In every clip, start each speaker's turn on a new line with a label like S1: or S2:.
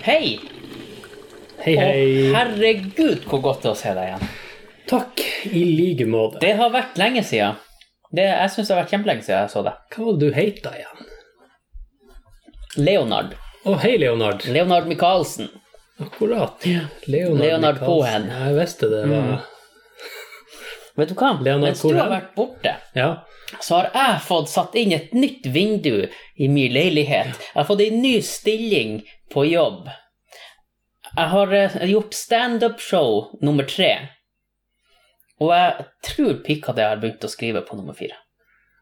S1: Hei!
S2: Hei,
S1: Og
S2: hei.
S1: herregud, hvor godt det er å se deg igjen.
S2: Takk i like måte.
S1: Det har vært lenge siden. Det, jeg syns det har vært kjempelenge siden jeg så deg.
S2: Hva var det du heita igjen?
S1: Leonard.
S2: Å, hei, Leonard.
S1: Leonard Michaelsen.
S2: Akkurat. Leonard,
S1: Leonard
S2: Michaelsen.
S1: Cohen.
S2: Ja, jeg visste det var
S1: Vet du hva?
S2: Leonard
S1: Mens du
S2: Cohen.
S1: har vært borte,
S2: Ja.
S1: så har jeg fått satt inn et nytt vindu i min leilighet. Jeg har fått en ny stilling på jobb. Jeg har eh, gjort standup-show nummer tre. Og jeg tror pikka det har begynt å skrive på nummer fire.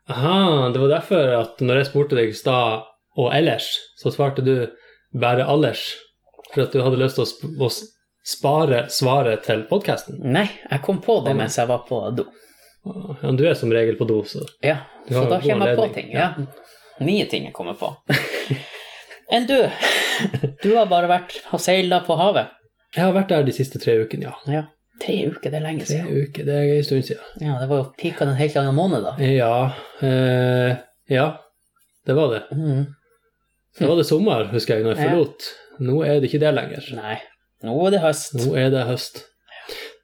S2: Aha, det var derfor at når jeg spurte deg i stad og ellers, så svarte du bare allers. For at du hadde lyst til å, sp å s- spare svaret til podkasten.
S1: Nei, jeg kom på det mens jeg var på do.
S2: Ja, du er som regel på do, så
S1: Ja,
S2: Du
S1: så
S2: har
S1: da
S2: jo god
S1: kommer jeg på
S2: anledning,
S1: ting. Ja. Nye ting jeg kommer på. Enn du? Du har bare vært og seila på havet.
S2: Jeg har vært der de siste tre ukene, ja.
S1: Ja. Tre uker, det er lenge
S2: Tre
S1: siden.
S2: uker, det er en stund siden.
S1: Ja, Det var jo pika en helt annen måned, da.
S2: Ja, eh, ja, det var det.
S1: Mm.
S2: Så var det sommer, husker jeg, når jeg
S1: Ja.
S2: forlot. Nå er det ikke det lenger.
S1: Nei, nå er det høst.
S2: Nå er det høst.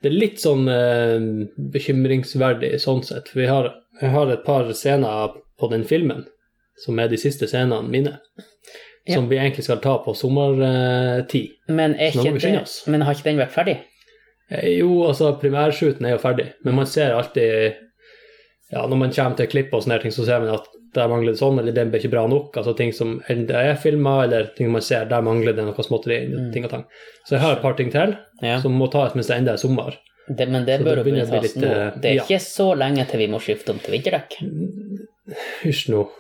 S2: Det er litt sånn eh, bekymringsverdig sånn sett, for vi har, jeg har et par scener på den filmen som er de siste scenene mine,
S1: Ja.
S2: som vi egentlig skal ta på sommertid.
S1: Men, er
S2: Så nå må
S1: ikke
S2: vi
S1: det,
S2: skynde oss.
S1: men har ikke den vært ferdig?
S2: Eh, Jo, altså, primærshooten er jo ferdig, men man ser alltid ja, Når man kommer til klipp og sånne her ting, så ser man at der mangler det sånn, eller den ble ikke bra nok. Altså ting som enten er filma, eller ting man ser, der mangler det noe småtteri.
S1: Mm.
S2: ting og tang. Så jeg har et par ting til
S1: Ja.
S2: som må tas mens det ennå er sommer.
S1: Det, men det
S2: Så
S1: bør
S2: det
S1: jo begynne
S2: begynner å
S1: å
S2: bli
S1: tas
S2: litt,
S1: nå.
S2: eh,
S1: Det er
S2: ja.
S1: ikke så lenge til vi må skifte om til vinterdekk.
S2: Hysj nå.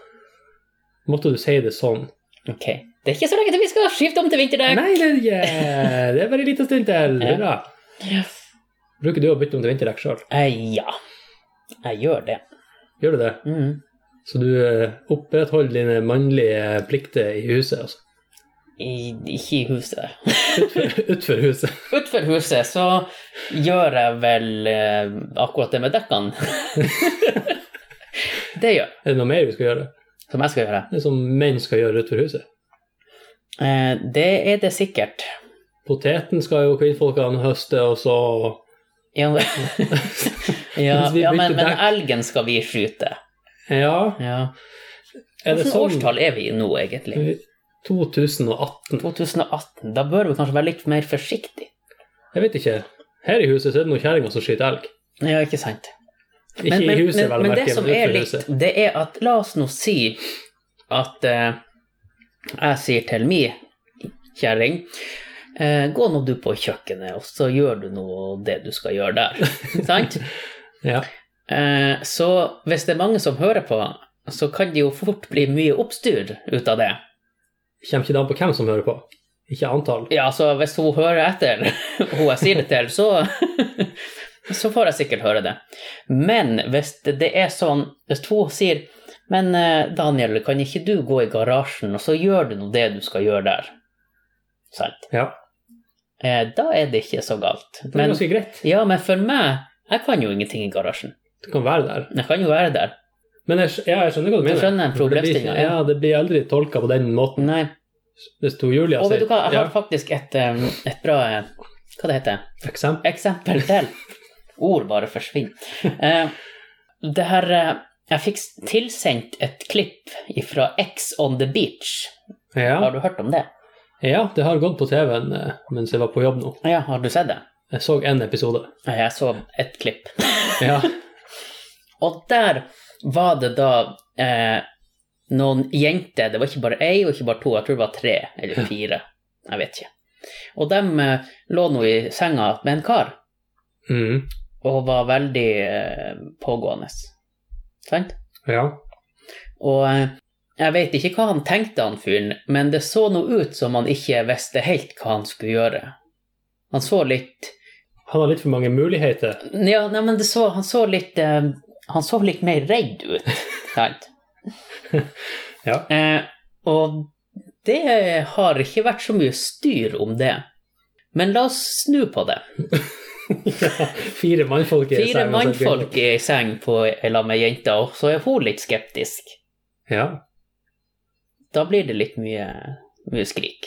S2: Måtte du si det sånn?
S1: Ok. Det er ikke så lenge til vi skal skifte om til vinterdekk!
S2: Nei, det er ikke Det er bare en liten stund til. Det
S1: Ja.
S2: er bra. Bruker du å bytte om til vinterdekk sjøl?
S1: Eh, ja. Jeg gjør det.
S2: Gjør du det?
S1: Mm.
S2: Så du eh, opprettholder dine mannlige plikter i huset, altså?
S1: I, ikke i huset.
S2: Utfor huset.
S1: Utenfor huset så gjør jeg vel eh, akkurat det med dekkene. det gjør jeg.
S2: Er det noe mer vi skal gjøre?
S1: Som jeg skal gjøre.
S2: Det er som menn skal gjøre utenfor huset.
S1: Eh, det er det sikkert.
S2: Poteten skal jo kvinnfolkene høste, og så
S1: Ja, men- ja,
S2: Mens vi
S1: ja men,
S2: bytter
S1: men
S2: dekk.
S1: elgen skal vi skyte.
S2: Ja,
S1: Ja.
S2: er det
S1: Hvilket
S2: sånn?
S1: årstall er vi i nå, egentlig?
S2: 2018.
S1: 2018. Da bør vi kanskje være litt mer forsiktige.
S2: Jeg vet ikke. Her i huset så er det noen kjerringer som skyter elg.
S1: Ja, ikke sant?
S2: Ikke i huset, vel å
S1: men
S2: merke,
S1: det som
S2: men
S1: er
S2: utenfor
S1: litt,
S2: huset.
S1: det er at la oss nå si at eh, jeg sier til mi kjerring eh, Gå nå du på kjøkkenet, og så gjør du nå det du skal gjøre der. Sant?
S2: Ja.
S1: Eh, så hvis det er mange som hører på, så kan det jo fort bli mye oppstyr ut av det.
S2: Kommer ikke det an på hvem som hører på? Ikke antall.
S1: Ja, altså hvis hun hører etter, hun jeg sier det til, så, så får jeg sikkert høre det. Men hvis det det er sånn, hvis hun sier Men eh, Daniel, kan ikke du gå i garasjen, og så gjør du nå det du skal gjøre der? Sant?
S2: Ja.
S1: Eh, Da er det ikke så galt.
S2: Det er
S1: Men,
S2: ganske greit.
S1: ja, men for meg, jeg kan jo ingenting i garasjen.
S2: Du kan være der.
S1: Jeg kan jo være der.
S2: Men jeg, skj- ja, jeg skjønner hva du mener.
S1: skjønner problemstillingen,
S2: Det blir-
S1: ja.
S2: Ja, det blir aldri tolka på den måten.
S1: Nei.
S2: Hvis to Julia
S1: Og vet
S2: sier
S1: du hva, jeg
S2: ja,
S1: har faktisk et, eh, et bra eh, Hva det heter det?
S2: eksempel.
S1: eksempel til. Ord bare forsvinner. Eh, det her eh, Jeg fikk tilsendt et klipp fra X on the beach. Har
S2: Ja.
S1: du hørt om det?
S2: ja, det har gått på TV-en eh, mens jeg var på jobb nå.
S1: Ja, har du sett det?
S2: Jeg så én episode.
S1: Ja, Jeg så et klipp.
S2: Ja.
S1: Og der var det da eh, noen jenter, det var ikke bare ei og ikke bare to, jeg tror det var tre eller fire. Jeg vet ikke. Og de eh, lå nå i senga med en kar
S2: Mm.
S1: og var veldig eh, pågående. Sant?
S2: ja.
S1: Og eh, jeg vet ikke hva han tenkte, han fyren, men det så nå ut som han ikke visste helt hva han skulle gjøre. Han så litt
S2: Han har litt for mange muligheter.
S1: Ja, nei, men det så, han så litt eh, Han så litt mer redd ut, sant?
S2: Ja.
S1: Eh, og det har ikke vært så mye styr om det. Men la oss snu på det.
S2: Fire mannfolk i altså.
S1: Fire
S2: senga, så er det fint.
S1: mannfolk i seng på lag med jenta, og så er hun litt skeptisk.
S2: Ja.
S1: Da blir det litt mye, mye skrik.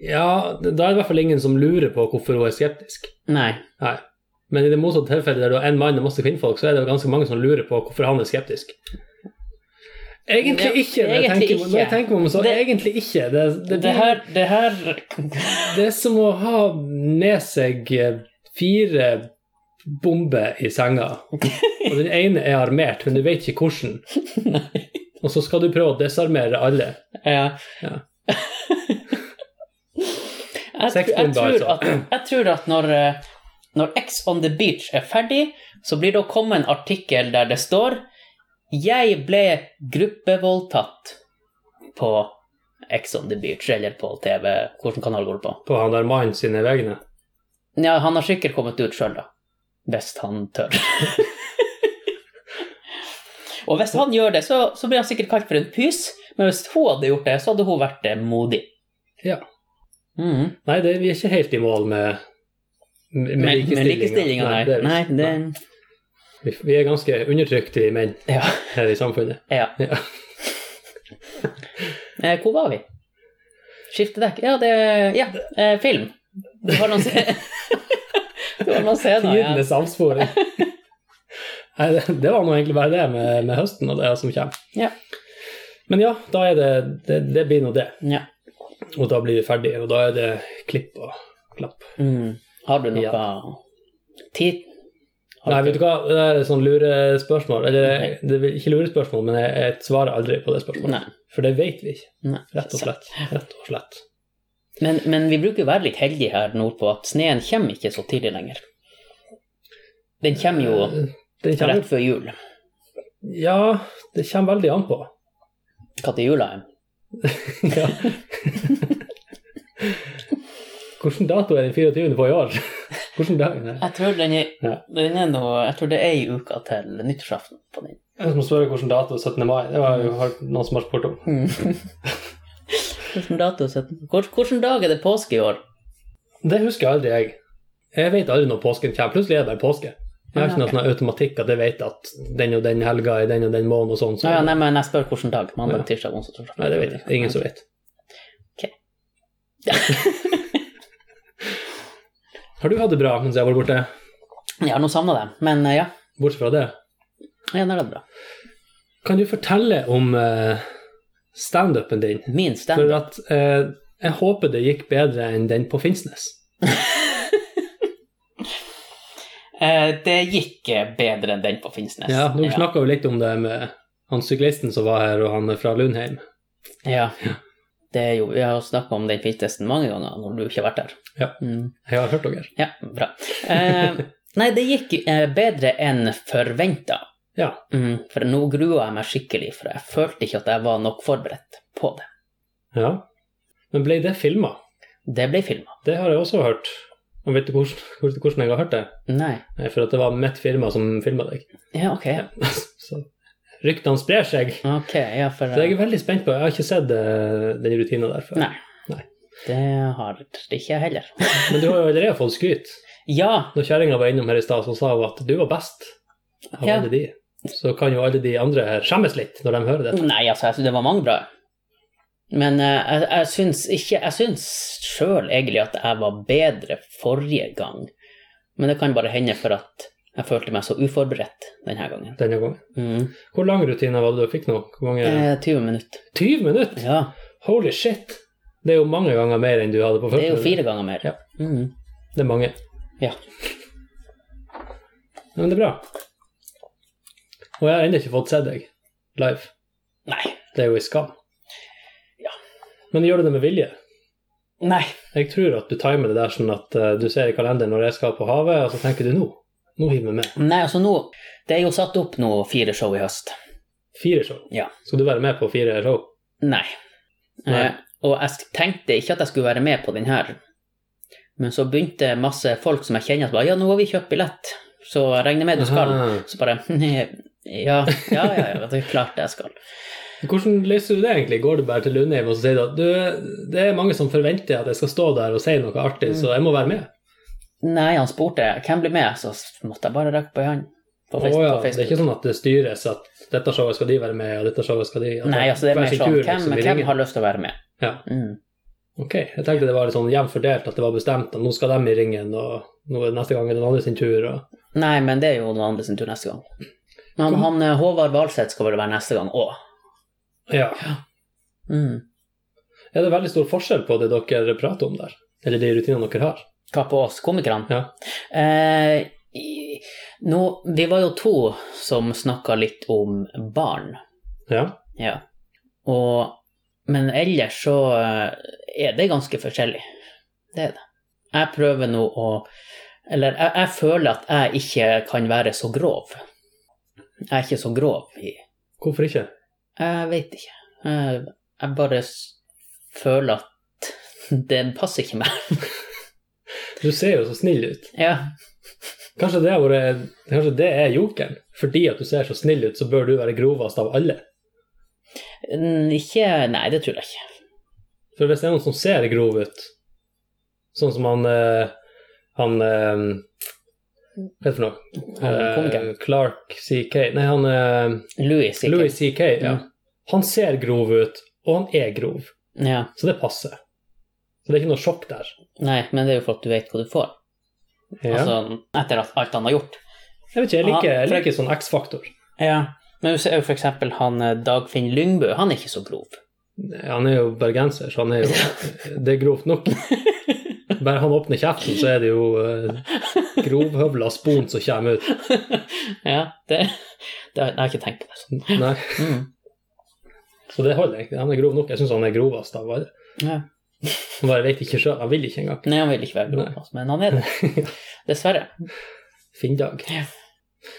S2: Ja, da er det i hvert fall ingen som lurer på hvorfor hun er skeptisk.
S1: Nei.
S2: Nei. Men i det motsatte tilfellet, der du har én mann og masse kvinnfolk, så er det jo ganske mange som lurer på hvorfor han er skeptisk. Egentlig
S1: Ja,
S2: ikke, når jeg
S1: egentlig
S2: tenker, når jeg
S1: ikke.
S2: tenker meg om, så
S1: Det-
S2: egentlig ikke. Det, det,
S1: Det her, det her
S2: det er som å ha med seg eh, fire bomber i senga, og den ene er armert, men du vet ikke hvordan.
S1: Nei.
S2: Og så skal du prøve å desarmere alle.
S1: Ja.
S2: Ja.
S1: Jeg, tr- jeg,
S2: Sexbombe,
S1: tror
S2: altså.
S1: at, jeg tror at når, eh, når X on the beach er ferdig, så blir det å komme en artikkel der det står 'Jeg ble gruppevoldtatt på X on the beach', eller på TV, hvilken kanal går det på?
S2: På han der mannen sine vegne.
S1: Ja, han har sikkert kommet ut sjøl, da. Hvis han tør. Og hvis han gjør det, så, så blir han sikkert kalt for en pys, men hvis hun hadde gjort det, så hadde hun vært eh, modig.
S2: Ja.
S1: Mhm.
S2: Nei, det, vi er ikke helt i mål med,
S1: Men-
S2: med, med
S1: Men likestillinga,
S2: likestillingen.
S1: nei.
S2: det er vi
S1: Nei,
S2: ikke.
S1: det,
S2: Nei. Vi, vi er ganske undertrykt, vi menn,
S1: ja,
S2: her i samfunnet.
S1: ja.
S2: Ja.
S1: Eh, Hvor var vi? Skifte dekk? Ja, det Ja, eh, film. Du har noen se- Du har noen scener. Ja.
S2: Tidenes avsporing. Nei, det, det var nå egentlig bare det med, med høsten og det som kommer.
S1: Ja.
S2: Men ja, da er det, det, det blir nå det.
S1: ja.
S2: Og da blir vi ferdige, og da er det klipp og klapp.
S1: Mm. Har du noe tid? Har
S2: Nei,
S1: du-
S2: vet du hva, det er et sånn lurespørsmål. Eller
S1: Ok.
S2: det er ikke lurespørsmål, men jeg, jeg svarer aldri på det spørsmålet.
S1: Nei.
S2: For det vet vi ikke,
S1: Nei.
S2: rett og slett. Rett og slett.
S1: Men, men vi bruker jo å være litt heldige her nordpå, at sneen kommer ikke så tidlig lenger. Den kommer jo
S2: Den Eh, kommer
S1: rett før jul.
S2: Ja, det kommer veldig an på.
S1: Når jula er.
S2: Ja. Hvilken dato er den 24. på i år? Hvilken dag? Nei.
S1: Jeg tror, den er,
S2: Ja.
S1: den er noe, jeg tror det er ei uke til nyttårsaften på den.
S2: Jeg som spørre hvilken dato 17. mai. Det var jo har noen som har spurt om.
S1: Hvilken dato setter Hvor- Hvilken dag er det påske i år?
S2: Det husker jeg aldri, jeg. Jeg vet aldri når påsken kommer. Plutselig er det bare påske. Jeg har ikke noen sånn automatikk at jeg vet at den og den helga er den og den måneden og sånn.
S1: Nå,
S2: sånn.
S1: ja, nei, men jeg spør hvilken dag. Mandag,
S2: Ja.
S1: tirsdag, onsdag, torsdag.
S2: Nei, det vet jeg. Det er Ingen som vet.
S1: Ok.
S2: har du hatt det bra mens jeg har vært borte?
S1: Jeg har nå savna dem, men eh, ja.
S2: Bortsett fra det.
S1: ja det er det bra.
S2: Kan du fortelle om eh, standupen din?
S1: Min
S2: For
S1: standup.
S2: at eh, jeg håper det gikk bedre enn den på Finnsnes.
S1: Eh, det gikk eh, bedre enn den på Finnsnes.
S2: Ja, Dere snakka jo litt om det med han syklisten som var her, og han fra Lundheim.
S1: Ja. Det er jo, vi har snakka om den fintesten mange ganger når du ikke har vært der.
S2: Ja.
S1: Mm.
S2: Jeg har hørt dere.
S1: ja bra. Eh, nei, det gikk eh, bedre enn forventa.
S2: Ja.
S1: Mm, for nå grua jeg meg skikkelig, for jeg følte ikke at jeg var nok forberedt på det.
S2: ja. Men ble det filma?
S1: Det ble filma.
S2: Det har jeg også hørt. Og vet du hvordan, hvordan- hvordan jeg har hørt det?
S1: Nei.
S2: Nei, for at det var mitt firma som filma deg.
S1: Ja, ok.
S2: Så ryktene sprer seg.
S1: Ok, ja, for
S2: Så jeg er veldig spent på Jeg har ikke sett eh, den rutina der før.
S1: Nei.
S2: Nei.
S1: Det har ikke jeg heller.
S2: Men du har jo allerede fått skryt.
S1: Ja,
S2: Når kjerringa var innom her i stad, så sa hun at du var best av
S1: Ja.
S2: alle de. Så kan jo alle de andre her skjemmes litt når de hører det.
S1: Nei, altså, jeg synes det var mange bra. Men eh, jeg, jeg syns ikke Jeg syns sjøl egentlig at jeg var bedre forrige gang. Men det kan bare hende for at jeg følte meg så uforberedt denne gangen.
S2: denne gangen.
S1: Mm.
S2: Hvor lang rutine var det du fikk nå? Hvor mange?
S1: Eh, 20 minutter.
S2: 20 minutter?
S1: Ja.
S2: Holy shit! Det er jo mange ganger mer enn du hadde på
S1: Det
S2: første.
S1: er jo fire ganger mer.
S2: Ja.
S1: Mm.
S2: Det er mange.
S1: Ja.
S2: Men det er bra. Og jeg har ennå ikke fått sett deg live.
S1: Nei.
S2: Det er jo en skam.
S1: Ja.
S2: Men gjør du det med vilje?
S1: Nei.
S2: Jeg tror at du timer det der sånn at eh, du ser i kalenderen når jeg skal på havet, og så tenker du nå. Nå hiver vi med.
S1: Nei, altså nå Det er jo satt opp nå fire show i høst.
S2: Fire show.
S1: Ja.
S2: Skal du være med på fire show?
S1: Nei.
S2: Nei.
S1: Eh, og jeg tenkte ikke at jeg skulle være med på den her. Men så begynte masse folk som jeg kjenner, at bare, ja, nå har vi kjøpt billett, så jeg regner med du skal.
S2: Aha.
S1: Så bare ja, ja, ja, ja, det er klart jeg skal.
S2: Hvordan løser du det egentlig? Går du bare til Lundheim og så sier du at du, det er mange som forventer at jeg skal stå der og si noe artig,
S1: Mm.
S2: så jeg må være med?
S1: Nei, han spurte hvem blir med, så måtte jeg bare rekke på ei hånd. På
S2: Å
S1: Face- på
S2: ja, det er
S1: Facebook.
S2: ikke sånn at det styres at dette showet skal de være med, og dette showet skal de sånn at
S1: Nei, altså det er
S2: hver
S1: mer
S2: sin
S1: sånn
S2: tur,
S1: hvem,
S2: liksom, vi
S1: hvem
S2: ringer.
S1: har lyst til å være med?
S2: Ja.
S1: Mm.
S2: Ok, jeg tenkte det var litt sånn jevnt fordelt, at det var bestemt at nå skal de i ringen, og nå er det neste gang er den andre sin tur. Og...
S1: Nei, men det er jo noen andre sin tur neste gang. Men han, han eh, Håvard Valseth skal vel være neste gang òg.
S2: Ja.
S1: Mm.
S2: Er det veldig stor forskjell på det dere prater om der? Eller de rutinene dere har?
S1: Hva på oss, komikerne?
S2: Ja.
S1: Eh, i- nå, vi var jo to som snakka litt om barn.
S2: Ja.
S1: Ja. Og, men ellers så eh, er det ganske forskjellig. Det er det. Jeg prøver nå å Eller jeg, jeg føler at jeg ikke kan være så grov. Jeg er ikke så grov i
S2: Hvorfor ikke?
S1: Jeg vet ikke. Jeg, jeg bare s- føler at det passer ikke meg.
S2: Du ser jo så snill ut.
S1: Ja.
S2: Kanskje det, har vært, kanskje det er jokeren? Fordi at du ser så snill ut, så bør du være grovest av alle.
S1: Mm, Ikke Nei, det tror jeg ikke.
S2: For hvis det er noen som ser grov ut, sånn som han eh, Han eh, Hva heter det for noe? Eh,
S1: Komikeren.
S2: Clark CK Nei, han eh,
S1: Louis, ikke.
S2: Louis CK, ja.
S1: Mm.
S2: Han ser grov ut, og han er grov,
S1: Ja.
S2: så det passer. Så det er ikke noe sjokk der.
S1: Nei, men det er jo for at du vet hva du får.
S2: Ja.
S1: Altså, etter at alt han har gjort.
S2: jeg vet ikke, jeg liker, jeg
S1: for-
S2: liker sånn X-faktor.
S1: Ja, men du ser jo for eksempel han eh, Dagfinn Lyngbø, han er ikke så grov.
S2: Han er jo bergenser, så han er jo Det er grovt nok. Bare han åpner kjeften, så er det jo eh, grovhøvla spon som kommer ut.
S1: ja, det, det har jeg har ikke tenkt på det sånn.
S2: Nei,
S1: Mm.
S2: så det holder egentlig. Han er grov nok. Jeg syns han er grovest av alle.
S1: Ja.
S2: Han bare vet ikke sjøl. Han vil ikke engang.
S1: Nei, han vil ikke være grov,
S2: Nei.
S1: altså, men han er det. Dessverre.
S2: Finndag.
S1: Ja.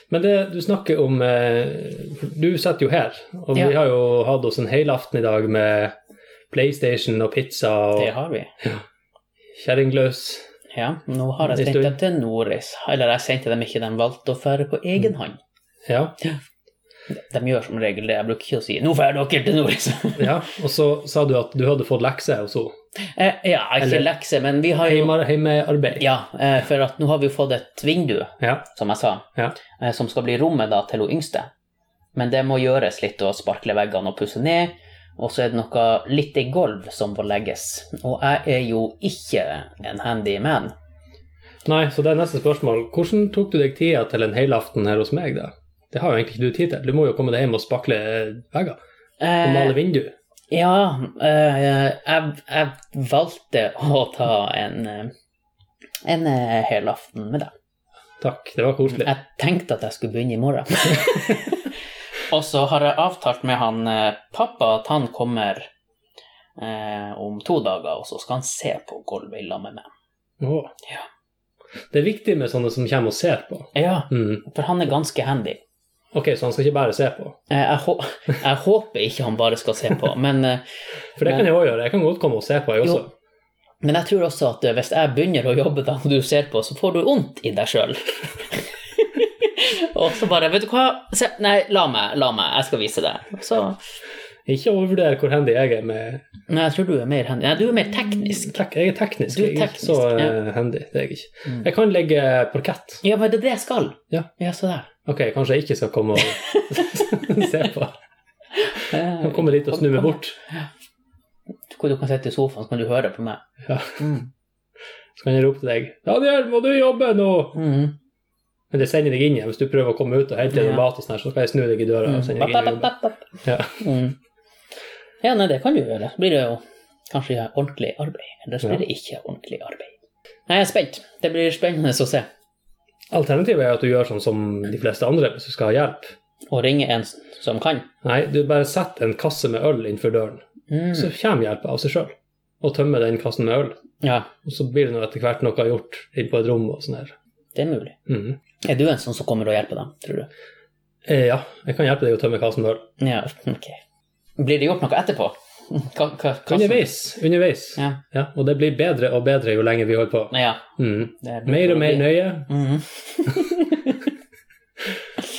S2: Men det du snakker om eh, for Du sitter jo her, og
S1: Ja.
S2: vi har jo hatt oss en helaften i dag med PlayStation og pizza
S1: Det
S2: og
S1: har vi.
S2: kjerringløs.
S1: Ja, nå har jeg sendt
S2: Historie.
S1: dem til Noris. Eller jeg sendte dem ikke, de valgte å fære på
S2: Mm.
S1: egen hånd.
S2: Ja.
S1: De gjør som regel det, jeg bruker ikke å si 'nå drar dere til Noris'.
S2: ja. Og så sa du at du hadde fått lekser hos henne.
S1: Eh, ja, ikke
S2: Eller-
S1: lekse, men vi har jo
S2: Heimar- Heimearbeid.
S1: Ja, eh, for at nå har vi jo fått et vindu.
S2: Ja.
S1: som jeg sa,
S2: Ja.
S1: eh, som skal bli rommet da til hun yngste. Men det må gjøres litt å sparkle veggene og pusse ned, og så er det noe litt i gulv som må legges. Og jeg er jo ikke en handy man.
S2: Nei, så det er neste spørsmål. Hvordan tok du deg tida til en helaften her hos meg, da? Det har jo egentlig ikke du tid til. Du må jo komme deg hjem og spakle eh, vegger og
S1: Eh,
S2: male vindu.
S1: ja, eh, jeg, jeg valgte å ta en, eh, en eh, helaften med deg.
S2: Takk, det var koselig.
S1: Jeg tenkte at jeg skulle begynne i morgen. og så har jeg avtalt med han eh, pappa at han kommer eh, om to dager, og så skal han se på gulvet i lag med meg.
S2: Åh.
S1: Ja.
S2: Det er viktig med sånne som kommer og ser på.
S1: Ja,
S2: Mm.
S1: for han er ganske handy.
S2: Ok, så han skal ikke bare se på.
S1: Eh, jeg, hå jeg håper ikke han bare skal se på, men, eh,
S2: For det
S1: Men-
S2: kan jeg òg gjøre. Jeg kan godt komme og se på, jeg også.
S1: Jo. men jeg tror også at eh, hvis jeg begynner å jobbe da og du ser på, så får du vondt i deg sjøl. og så bare Vet du hva, se, nei, la meg, la meg, jeg skal vise deg. Så,
S2: Ikke overvurdere hvor handy jeg er med
S1: men jeg tror du er mer handy. Nei, du er mer teknisk.
S2: Tek- Jeg er teknisk,
S1: Du er
S2: jeg er ikke
S1: teknisk,
S2: så
S1: ja.
S2: eh, handy. Det er jeg ikke.
S1: Mm.
S2: Jeg kan legge parkett.
S1: Ja, men det er det jeg skal.
S2: Ja.
S1: så der.
S2: Ok, kanskje jeg ikke skal komme og se på.
S1: Eh,
S2: Jeg kommer dit og snur meg bort.
S1: Hvor du kan sitte i sofaen, så kan du høre på meg.
S2: Ja.
S1: Mm.
S2: Så kan jeg rope til deg 'Daniel, må du jobbe nå?'
S1: Mm.
S2: Men det sender deg inn igjen. Hvis du prøver å komme ut og hente deg
S1: Ja.
S2: mat, og sånn her, så skal jeg snu deg i døra.
S1: Mm.
S2: og sende
S1: Bap,
S2: deg inn
S1: bap,
S2: og
S1: bap,
S2: jobbe.
S1: bap, bap.
S2: Ja.
S1: Mm. Ja, nei, det kan du gjøre. Så blir det jo kanskje ordentlig arbeid. Eller så blir
S2: Ja.
S1: det ikke ordentlig arbeid. Nei, jeg er spent. Det blir spennende å se.
S2: Alternativet er at du gjør sånn som de fleste andre hvis du skal ha hjelp.
S1: Å ringe en som kan.
S2: Nei, du bare setter en kasse med øl innenfor døren.
S1: Mm.
S2: så kommer hjelpa av seg sjøl. Og tømmer den kassen med øl.
S1: Ja,
S2: Og så blir det nå etter hvert noe gjort inn på et rom og sånn her.
S1: det er mulig.
S2: Mhm.
S1: Er du en sånn som kommer og hjelper dem, tror du?
S2: Eh, ja, jeg kan hjelpe deg å tømme kassen med øl.
S1: Ja, ok. Blir det gjort noe etterpå? Hva, hva, hva
S2: Underveis. underveis.
S1: Ja.
S2: Ja, og det blir bedre og bedre jo lenger vi holder på.
S1: ja.
S2: Mhm.
S1: det blir-
S2: Mer og mer nøye.
S1: Mhm.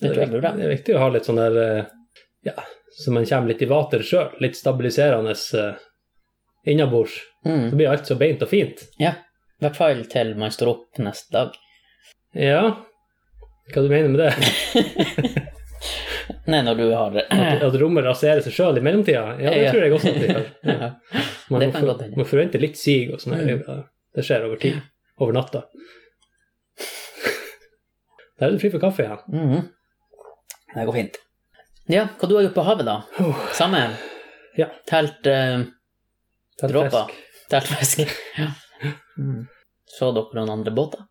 S1: det tror jeg
S2: Det
S1: burde.
S2: er viktig å ha litt sånn der eh, Ja, så man kommer litt i vater sjøl. Litt stabiliserende eh, innabords. Så
S1: Mm.
S2: blir alt så beint og fint.
S1: I hvert fall til man står opp neste dag.
S2: Ja, hva du mener med det?
S1: Nei, når du har
S2: At, at rommet raserer seg sjøl i mellomtida? Ja, det
S1: Ja.
S2: tror jeg også at de gjør. Ja. Man
S1: Det kan
S2: må,
S1: godt
S2: for,
S1: hende. Mm.
S2: må forvente litt sig og sånn. her. Det skjer over tid. Over natta. Der er du fri for kaffe igjen.
S1: Mhm. Det går fint. Ja, hva du har gjort på havet, da?
S2: Åh,
S1: Samme?
S2: Ja.
S1: Telt eh,
S2: telt
S1: Dråper.
S2: fisk.
S1: Teltfisk. Ja. Mm. Så dere noen andre båter?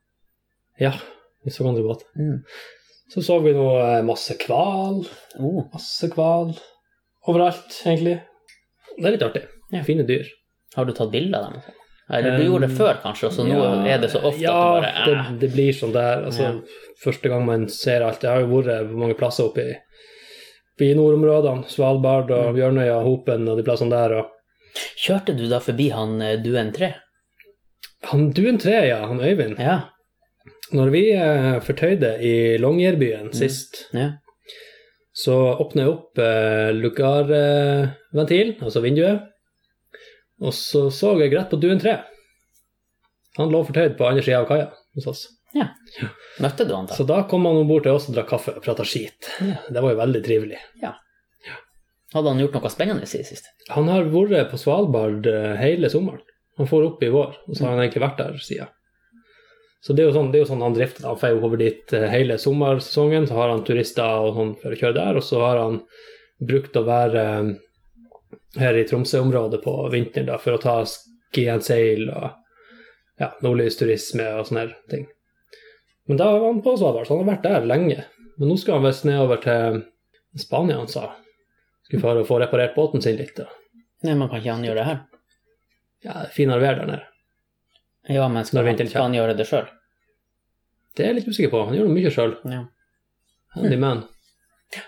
S2: Ja. Vi så andre båter.
S1: Mm.
S2: Så så vi nå eh, masse hval.
S1: Oh.
S2: Masse hval. Overalt, egentlig. Det er litt artig.
S1: Ja.
S2: Fine dyr.
S1: Har du tatt bilde av dem? Eller du
S2: Um,
S1: gjorde det før, kanskje, og så nå
S2: Ja,
S1: er det så ofte
S2: ja,
S1: at du bare eh.
S2: det, det blir sånn der. Altså,
S1: Ja.
S2: Første gang man ser alt. Jeg har jo vært på mange plasser oppe i, oppe i nordområdene. Svalbard og
S1: Mm.
S2: Bjørnøya, Hopen og de plassene der. Og
S1: Kjørte du da forbi han eh, Duen 3?
S2: han Duen Tre, ja, han Øyvind.
S1: Ja.
S2: Når vi eh, fortøyde i Longyearbyen sist,
S1: Mm. ja.
S2: så åpna jeg opp eh, lugarventil, altså vinduet, og så så jeg rett på Duen Tre. Han lå fortøyd på andre sida av kaia hos oss.
S1: Møtte du han da?
S2: Så da kom han om bord til oss og drakk kaffe og prata skit.
S1: Ja.
S2: Det var jo veldig trivelig.
S1: Hadde han gjort noe spennende siden sist?
S2: Han har vært på Svalbard eh, hele sommeren. Han får opp i vår, og så har han egentlig vært der siden. Så det er jo sånn, det er jo sånn han drifter. Han får jo over dit eh, hele sommersesongen, så har han turister og sånn for å kjøre der, og så har han brukt å være eh, her i Tromsø-området på vinteren da, for å ta ski and sail og ja, nordlysturisme og sånne her ting. Men da var han på Svalbard, så han har vært der lenge. Men nå skal han visst nedover til Spania, han sa. Skulle fare og få reparert båten sin litt. Da.
S1: Nei, men kan ikke han gjøre det her?
S2: Ja, det er finere vær der nede.
S1: Ja, men skal
S2: Når
S1: han,
S2: vinteren
S1: skal han gjøre det sjøl?
S2: Det er jeg litt usikker på. Han gjør noe mye sjøl.
S1: Ja.
S2: Handy man.
S1: Ja,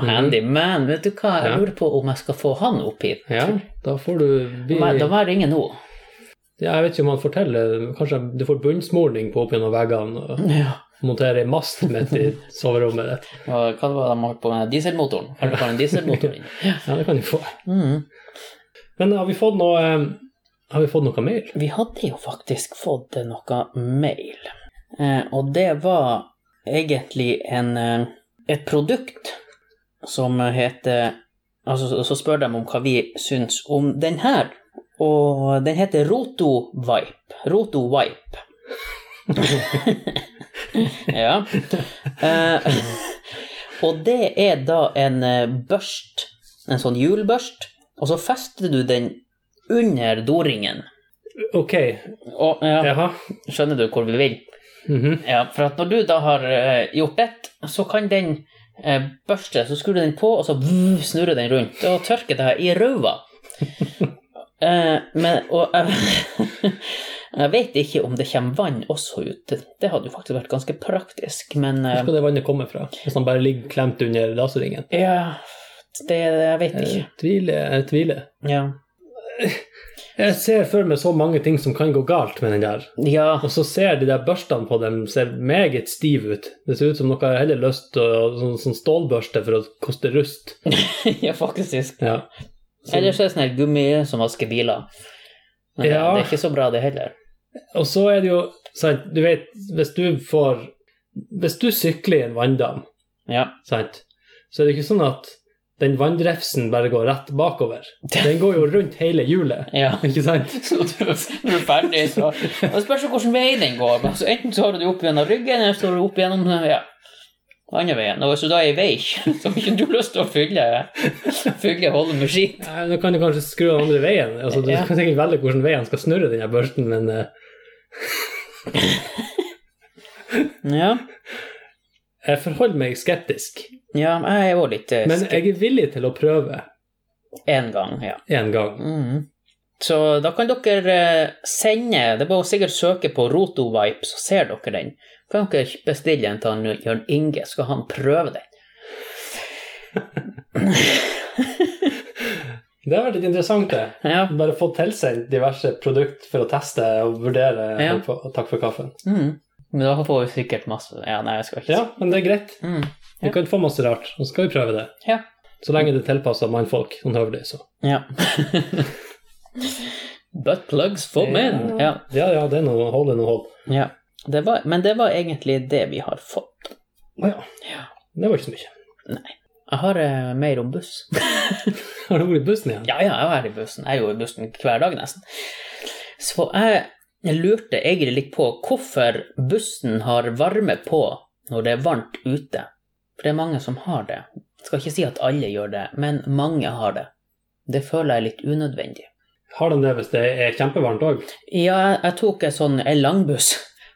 S2: Mhm.
S1: handyman. Vet du hva, jeg
S2: Ja.
S1: lurer på om jeg skal få han opp hit.
S2: Ja, da får du vi,
S1: Da må jeg- da
S2: ja,
S1: må jeg ringe nå.
S2: Jeg vet ikke om han forteller Kanskje du får bunnsmorning på opp gjennom veggene og
S1: Ja.
S2: monterer ei mast midt i soverommet ditt.
S1: Og Hva var det de holdt på med? Dieselmotoren? Har du bare en dieselmotor inn?
S2: Ja, det kan du få.
S1: Mhm.
S2: Men har vi fått noe eh, Har vi fått noe mail?
S1: Vi hadde jo faktisk fått eh, noe mail, eh, og det var egentlig en, eh, et produkt som heter Altså, så- så spør de om hva vi syns om den her, og den heter Rotovipe. Rotovipe. ja. Eh, og det er da en eh, børst, en sånn hjulbørst, og så fester du den under doringen.
S2: Ok,
S1: Og, ja,
S2: jaha.
S1: skjønner du hvor vi vil?
S2: Mhm.
S1: Ja, for at når du da har eh, gjort det, så kan den eh, børste, så skrur du den på, og så vv, snurrer den rundt, og tørker det her i røva. Eh, men, og jeg- jeg vet ikke om det kommer vann også ut. Det hadde jo faktisk vært ganske praktisk, men
S2: Hvor
S1: eh,
S2: skal det vannet komme fra? Hvis han bare ligger klemt under laserringen?
S1: Ja, det jeg vet
S2: Jeg
S1: ikke.
S2: tviler, jeg tviler.
S1: Ja.
S2: Jeg ser for meg så mange ting som kan gå galt med den der.
S1: ja.
S2: Og så ser de der børstene på dem ser meget stive ut. Det ser ut som noe heller løst og sånn, sånn stålbørste for å koste rust.
S1: ja, faktisk.
S2: Ja. Så-
S1: Ellers er det sånn her gummi som vasker biler. Men det,
S2: Ja.
S1: det er ikke så bra, det heller.
S2: Og så er det jo sant, du vet, hvis du får Hvis du sykler i en vanndam,
S1: Ja.
S2: sant, så er det ikke sånn at den vannrefsen bare går rett bakover. Den går jo rundt hele hjulet,
S1: ja.
S2: ikke sant?
S1: Så du, når du er ferdig, så og Det spørs jo hvilken vei den går. men Altså, enten så har du det opp gjennom ryggen, eller så har du det opp gjennom eh, ja, andre veien. Og hvis du da er i vei, så har ikke du lyst til å fylle, fylle holdet med skitt.
S2: Nei, Nå kan du kanskje skru den andre veien. Altså, du
S1: Ja.
S2: kan sikkert velge hvilken vei han skal snurre den her børsten, men eh,
S1: Ja.
S2: jeg forholder meg skeptisk.
S1: ja, jeg er jo litt eh,
S2: Men jeg er villig til å prøve
S1: en gang, ja.
S2: en gang.
S1: Mm. Så da kan dere eh, sende Det er bare å sikkert søke på Rotovipe, så ser dere den. Kan dere bestille en til han Jørn Inge, så skal han prøve den?
S2: Det har vært litt interessant, det.
S1: Ja.
S2: Bare fått tilsendt diverse produkt for å teste og vurdere.
S1: Ja.
S2: Og Takk for kaffen.
S1: Mm. Men da får vi sikkert masse Ja, nei, jeg skal ikke
S2: Ja, men det er greit.
S1: Mm.
S2: Vi
S1: Ja.
S2: kan få masse rart, og så skal vi prøve det.
S1: Ja.
S2: Så lenge det er tilpassa mannfolk. Sånn høvelig, så.
S1: ja. Butt plugs for men. Ja.
S2: ja, ja, det er noe hold, det er noe hold.
S1: ja. Det var, men det var egentlig det vi har fått.
S2: Å ja.
S1: Ja.
S2: Det var ikke så mye.
S1: Nei. Jeg har eh, mer om buss.
S2: Har du vært i bussen igjen?
S1: Ja, ja, jeg var i bussen. Jeg er jo i bussen hver dag, nesten. Så jeg lurte egentlig litt på hvorfor bussen har varme på når det er varmt ute. For det er mange som har det. Jeg skal ikke si at alle gjør det, men mange har det. Det føler jeg er litt unødvendig.
S2: Har de det hvis det er kjempevarmt òg?
S1: Ja, jeg- jeg tok en sånn en langbuss,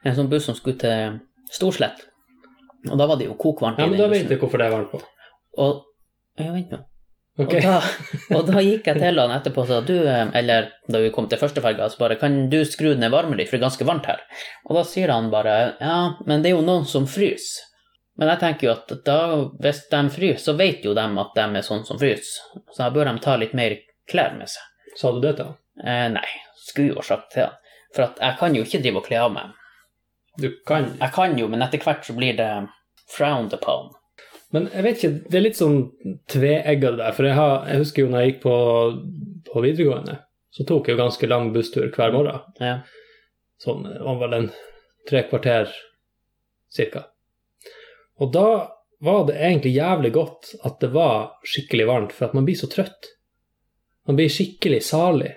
S1: en sånn buss som skulle til Storslett. Og da var det jo kokvarmt.
S2: Ja,
S1: i
S2: men
S1: den
S2: da vet
S1: bussen.
S2: du hvorfor det er varmt på.
S1: Og ja, vent nå.
S2: Ok,
S1: Og, da, og da gikk jeg til han etterpå og sa du, eh, eller da vi kom til førsteferga, så bare kan du skru ned varmen litt, for det er ganske varmt her. Og da sier han bare ja, men det er jo noen som fryser. Men jeg tenker jo at da, hvis de fryser, så vet jo de at de er sånn som fryser. Så da bør de ta litt mer klær med seg.
S2: Sa du det til han?
S1: Eh, nei, skulle jo ha sagt til han. For at jeg kan jo ikke drive og kle av meg.
S2: Du kan
S1: Jeg kan jo, men etter hvert så blir det frowned upon.
S2: Men jeg vet ikke, det er litt sånn tveegga det der. For jeg, har, jeg husker jo når jeg gikk på, på videregående, så tok jeg jo ganske lang busstur hver morgen.
S1: Ja.
S2: Sånn det var vel en tre kvarter cirka. Og da var det egentlig jævlig godt at det var skikkelig varmt, for at man blir så trøtt. Man blir skikkelig salig.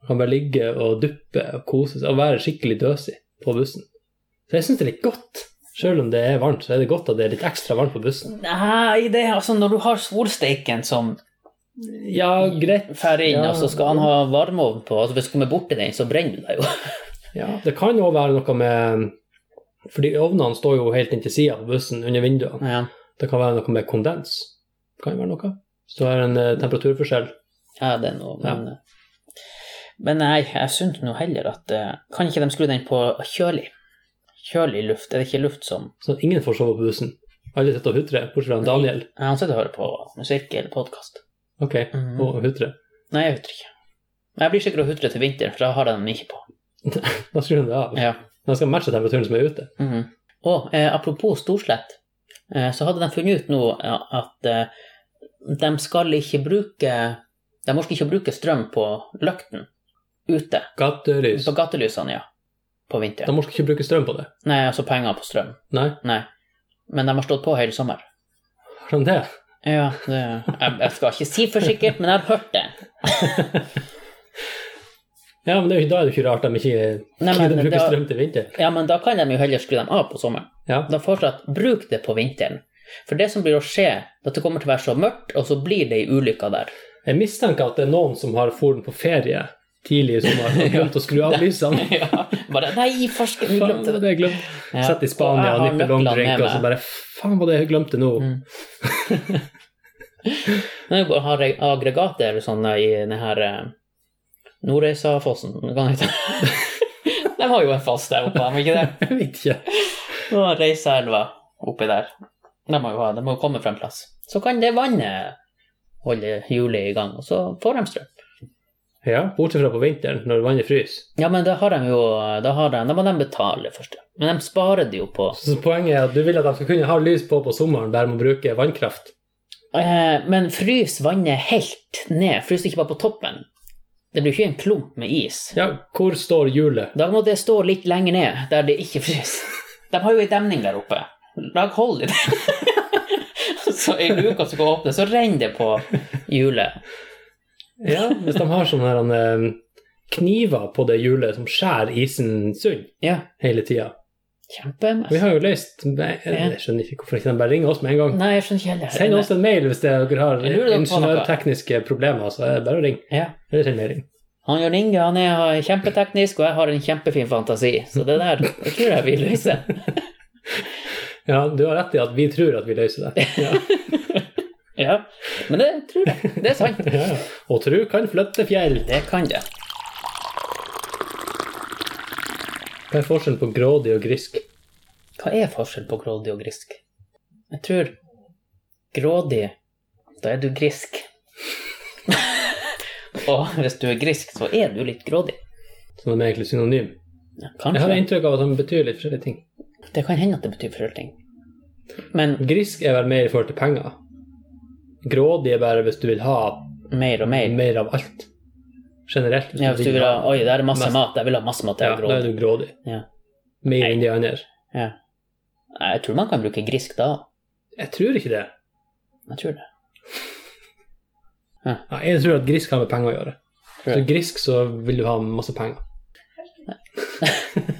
S2: Man kan bare ligge og duppe og kose seg og være skikkelig døsig på bussen. Så jeg syns det er litt godt. Sjøl om det er varmt, så er det godt at det er litt ekstra varmt på bussen.
S1: Nei, det er altså når du har solsteiken som
S2: Ja, greit.
S1: fer inn,
S2: Ja.
S1: og så skal han ha varmeovn på. Altså, hvis du kommer borti den, så brenner du deg jo.
S2: Ja, det kan jo være noe med Fordi ovnene står jo helt inntil sida på bussen, under vinduene.
S1: Ja.
S2: Det kan være noe med kondens. Det kan jo være noe. Så det er en eh, temperaturforskjell.
S1: ja, det er noe, men Men nei, jeg syns nå heller at eh, Kan ikke de skru den på kjølig? Kjølig luft? Er det ikke luft som
S2: Så Sånn ingen får sove på bussen. Alle sitter og hutrer, bortsett fra Daniel.
S1: Nei, Han sitter og hører på musikk eller podkast.
S2: Ok,
S1: Mhm.
S2: og hutrer.
S1: Nei, jeg hutrer ikke. Men jeg blir sikkert å hutre til vinteren, for da har jeg den ikke på.
S2: Da skrur han det av.
S1: Ja.
S2: Den skal matche temperaturen som er ute.
S1: Mhm. Og eh, apropos Storslett, eh, så hadde de funnet ut nå eh, at eh, de skal ikke bruke De orker ikke å bruke strøm på løkten ute.
S2: Gatelys.
S1: På gatelysene, ja. På
S2: De
S1: vinteren.
S2: må ikke bruke strøm på det.
S1: Nei, altså penger på strøm.
S2: Nei,
S1: Nei. Men de har stått på hele sommer.
S2: har han det?
S1: Ja, det, jeg, jeg skal ikke si for sikkert, men jeg har hørt det.
S2: Ja, men det er jo, da er det jo ikke rart de ikke
S1: Nei,
S2: de
S1: men
S2: bruker
S1: da-
S2: strøm til vinter.
S1: Ja, men da kan de jo heller skru dem av på sommeren.
S2: Ja.
S1: Da fortsatt bruk det på vinteren. For det som blir å skje, er at det kommer til å være så mørkt, og så blir det ei ulykke der.
S2: Jeg mistenker at det er noen som har foren på ferie tidlig i sommer og glemt å skru av lysene.
S1: Ja, bare Nei, farsken, vi
S2: Faen, det
S1: glemte det.
S2: hadde jeg glemt.
S1: Ja.
S2: Sett i
S1: Og
S2: Spania og
S1: jeg har
S2: nippe long
S1: nøklene
S2: drink,
S1: med
S2: og så
S1: meg.
S2: bare Faen, var det jeg glemte nå?
S1: Mm. Nei, bare har jeg aggregater sånne i den her eh, Nordreisafossen, hva heter det? De har jo en fast der oppe, har de ikke det?
S2: Jeg vet ikke.
S1: Og Reisaelva oppi der. De må jo ha, de må jo komme fra en plass. Så kan det vannet holde hjulet i gang, og så får de strøm.
S2: Ja, bortsett fra på vinteren, når vannet fryser.
S1: Ja, men da har de jo Da, har de, da må de betale først. Men de sparer det jo på
S2: Så poenget er at du vil at de skal kunne ha lys på på sommeren, bare med å bruke vannkraft.
S1: eh, Men frys vannet helt ned. Frys ikke bare på toppen. Det blir jo ikke en klump med is.
S2: Ja, hvor står hjulet?
S1: Da må det stå litt lenger ned, der det ikke fryser. De har jo ei demning der oppe. Lag hold i det. så ei luke som går åpne, så renner det på hjulet.
S2: Ja, hvis de har sånne her, eh, kniver på det hjulet som skjærer isen sund
S1: Ja,
S2: hele tida. Vi
S1: kjempemessig.
S2: har jo løst Nei, Jeg skjønner ikke hvorfor ikke de bare ringer oss med en gang.
S1: Nei, jeg skjønner ikke heller.
S2: Send oss en mail hvis dere har
S1: Eh, Jeg lurer på noe.
S2: ingeniørtekniske problemer, så er det bare å ringe.
S1: Ja.
S2: Eller send melding.
S1: Han Jørn Inge han er kjempeteknisk, og jeg har en kjempefin fantasi. Så det der det tror jeg vi løser.
S2: Ja, du har rett i at vi tror at vi løser det. Ja.
S1: Ja. Men det tror jeg. Det er sant.
S2: Ja, ja. Og tru kan flytte fjell.
S1: Det kan det.
S2: Hva er forskjellen på grådig og grisk?
S1: Hva er forskjellen på grådig og grisk? Jeg tror grådig, da er du grisk. og hvis du er grisk, så er du litt grådig.
S2: Som de er egentlig synonym.
S1: Ja,
S2: Jeg har
S1: Kanskje.
S2: inntrykk av at de betyr litt forskjellige ting.
S1: Det kan hende at det betyr forskjellige ting. Men
S2: Grisk er vel mer i forhold til penger. Grådig er bare hvis du vil ha
S1: mer og mer.
S2: mer av alt. Generelt.
S1: Ja, hvis du vil ha Oi, der er masse
S2: Mest-
S1: mat. Jeg vil ha masse mat. Jeg
S2: ja,
S1: er
S2: da er
S1: grådig.
S2: du grådig.
S1: Ja.
S2: Mer enn de andre.
S1: Ja. Jeg tror man kan bruke grisk da.
S2: Jeg tror ikke det.
S1: Jeg tror det.
S2: Ja, jeg tror at grisk har med penger å gjøre.
S1: Tror
S2: Så
S1: jeg.
S2: grisk så vil du ha masse penger.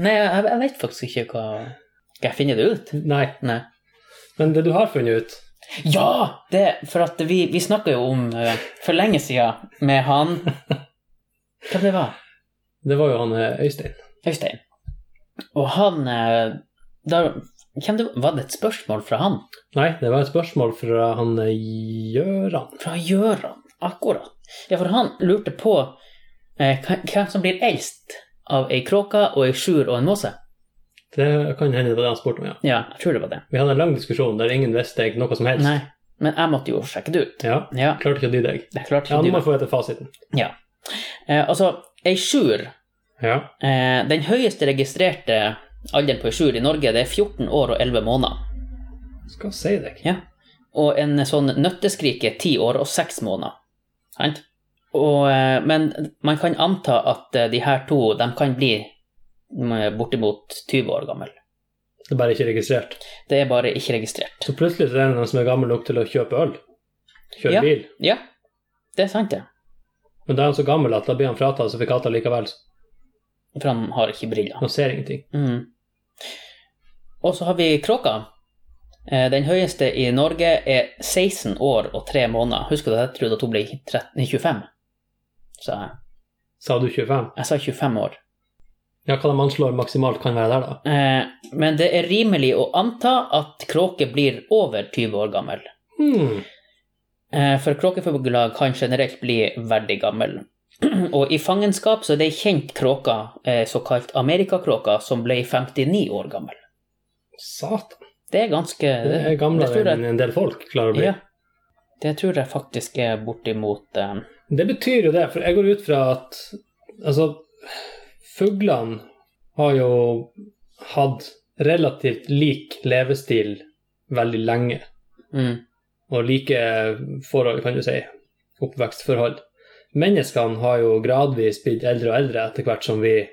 S1: Nei, jeg, jeg vet faktisk ikke hva Skal jeg finne det ut?
S2: Nei,
S1: Nei.
S2: men det du har funnet ut
S1: Ja! Det, for at vi, vi snakka jo om eh, for lenge sida med han Hvem det var?
S2: Det var jo han eh, Øystein.
S1: Øystein. Og han eh, da, hvem det, Var det et spørsmål fra han?
S2: Nei, det var et spørsmål fra han eh, Gjøran.
S1: Fra Gjøran, akkurat. Ja, for han lurte på eh, hva- hvem som blir eldst av ei kråke og ei sjur og en måse.
S2: Det kan hende det var det han spurte om, ja.
S1: Ja, jeg tror det var det.
S2: Vi hadde en lang diskusjon der ingen visste egentlig noe som helst.
S1: Nei, men jeg måtte jo sjekke det ut.
S2: Ja,
S1: Ja,
S2: Klarte ikke å dy deg.
S1: det er klart.
S2: Ja, nå
S1: du-
S2: må jeg få vite fasiten.
S1: Eh, altså, ei sjur
S2: Ja.
S1: eh, Den høyeste registrerte alderen på ei sjur i Norge, det er 14 år og 11 måneder.
S2: Skal si deg.
S1: Ja. Og en sånn nøtteskrik er ti år og seks måneder. Sant? Og, eh, men man kan anta at eh, de her to de kan bli mm, bortimot 20 år gammel.
S2: Det er bare ikke registrert.
S1: Det er bare ikke registrert.
S2: Så plutselig så er det noen som er gammel nok til å kjøpe øl. Kjøre
S1: Ja.
S2: bil.
S1: Ja, det er sant, det.
S2: Men da er han så gammel at da blir han fratatt sertifikatet likevel. så
S1: For han har ikke briller.
S2: Han ser ingenting.
S1: Mm. Og så har vi kråka. Eh, Den høyeste i Norge er 16 år og 3 måneder. Husker du at jeg trodde at hun ble 13, 25? Så jeg,
S2: Sa du 25?
S1: jeg sa 25 år.
S2: Ja, hva de anslår maksimalt kan være der, da?
S1: Eh, men det er rimelig å anta at kråke blir over 20 år gammel.
S2: Hmm.
S1: Eh, for kråkefugler kan generelt bli veldig gammel. Og i fangenskap så er det ei kjent kråke, eh, såkalt amerikakråka, som ble 59 år gammel.
S2: Satan.
S1: Det er ganske
S2: Det er gamlere
S1: tror jeg-
S2: enn en del folk klarer å bli.
S1: Ja. Det tror jeg faktisk er bortimot eh,
S2: Det betyr jo det, for jeg går ut fra at Altså, fuglene har jo hatt relativt lik levestil veldig lenge,
S1: mm,
S2: og like forhold, kan du si, oppvekstforhold. Menneskene har jo gradvis blitt eldre og eldre etter hvert som vi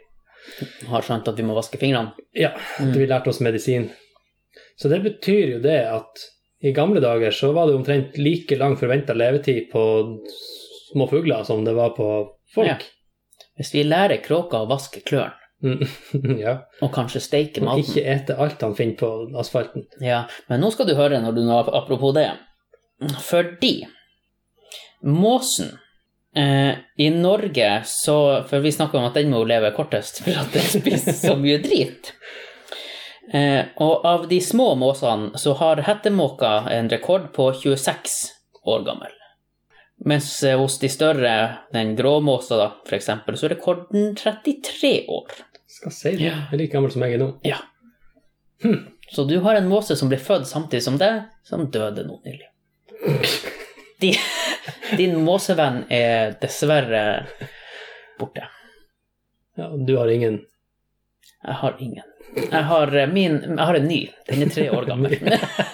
S1: har skjønt at vi må vaske fingrene.
S2: Ja,
S1: Mm.
S2: vi lærte oss medisin. Så det betyr jo det at i gamle dager så var det omtrent like lang forventa levetid på små fugler som det var på folk.
S1: Hvis vi lærer kråka å vaske klørne,
S2: Mm, ja.
S1: og kanskje steike
S2: Og
S1: maten
S2: ikke ete alt han finner på asfalten.
S1: Ja, men nå skal du høre når du apropos det. Fordi måsen eh, I Norge så For vi snakker om at den må leve kortest for at den spiser så mye drit. Eh, og av de små måsene så har hettemåka en rekord på 26 år gammel. Mens eh, hos de større, den gråmåsa da, for eksempel, så er rekorden 33 år.
S2: Skal si det.
S1: Ja.
S2: Jeg er like gammel som jeg er nå.
S1: Ja. Hm. Så du har en måse som ble født samtidig som deg, som døde nå nylig. Din, din måsevenn er dessverre borte.
S2: Ja, og du har ingen
S1: Jeg har ingen. Jeg har, eh, min, jeg har en ny. Den er tre år gammel.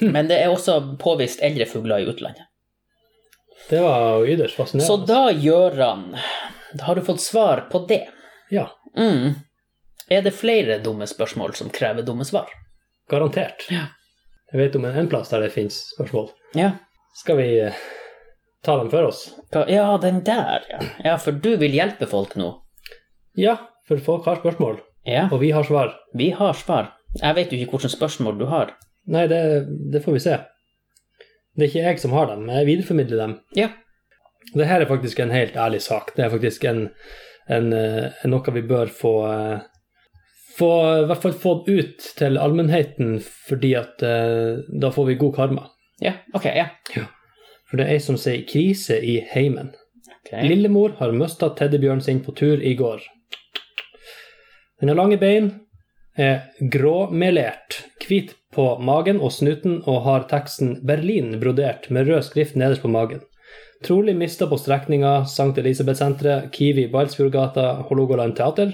S1: Men det er også påvist eldre fugler i utlandet.
S2: Det var jo ytterst
S1: Så
S2: fascinerende.
S1: da, Gøran, da har du fått svar på det.
S2: Ja,
S1: Mm. Er det flere dumme spørsmål som krever dumme svar?
S2: garantert.
S1: Ja.
S2: Jeg vet om en, en plass der det fins spørsmål.
S1: Ja.
S2: Skal vi eh, ta dem for oss?
S1: Hva- Ja, den der, ja. Ja, for du vil hjelpe folk nå.
S2: Ja, for folk har spørsmål,
S1: Ja,
S2: og vi har svar.
S1: vi har svar. Jeg vet jo ikke hvilke spørsmål du har.
S2: Nei, det, det får vi se. Det er ikke jeg som har dem, men jeg videreformidler dem.
S1: Ja.
S2: Det her er faktisk en helt ærlig sak. Det er faktisk en, en, eh, noe vi bør få eh, få, I hvert fall få det ut til allmennheten, fordi at eh, da får vi god karma.
S1: Ja, ok, ja.
S2: For det er ei som sier 'krise i heimen'.
S1: Ok.
S2: Lillemor har mista teddybjørnen sin på tur i går. Den har lange bein, er gråmelert, hvit på magen og snuten og har teksten 'Berlin' brodert med rød skrift nederst på magen. Trolig mista på strekninga St. Elisabeth-senteret, Kiwi Balsfjordgata, Hålogaland teater.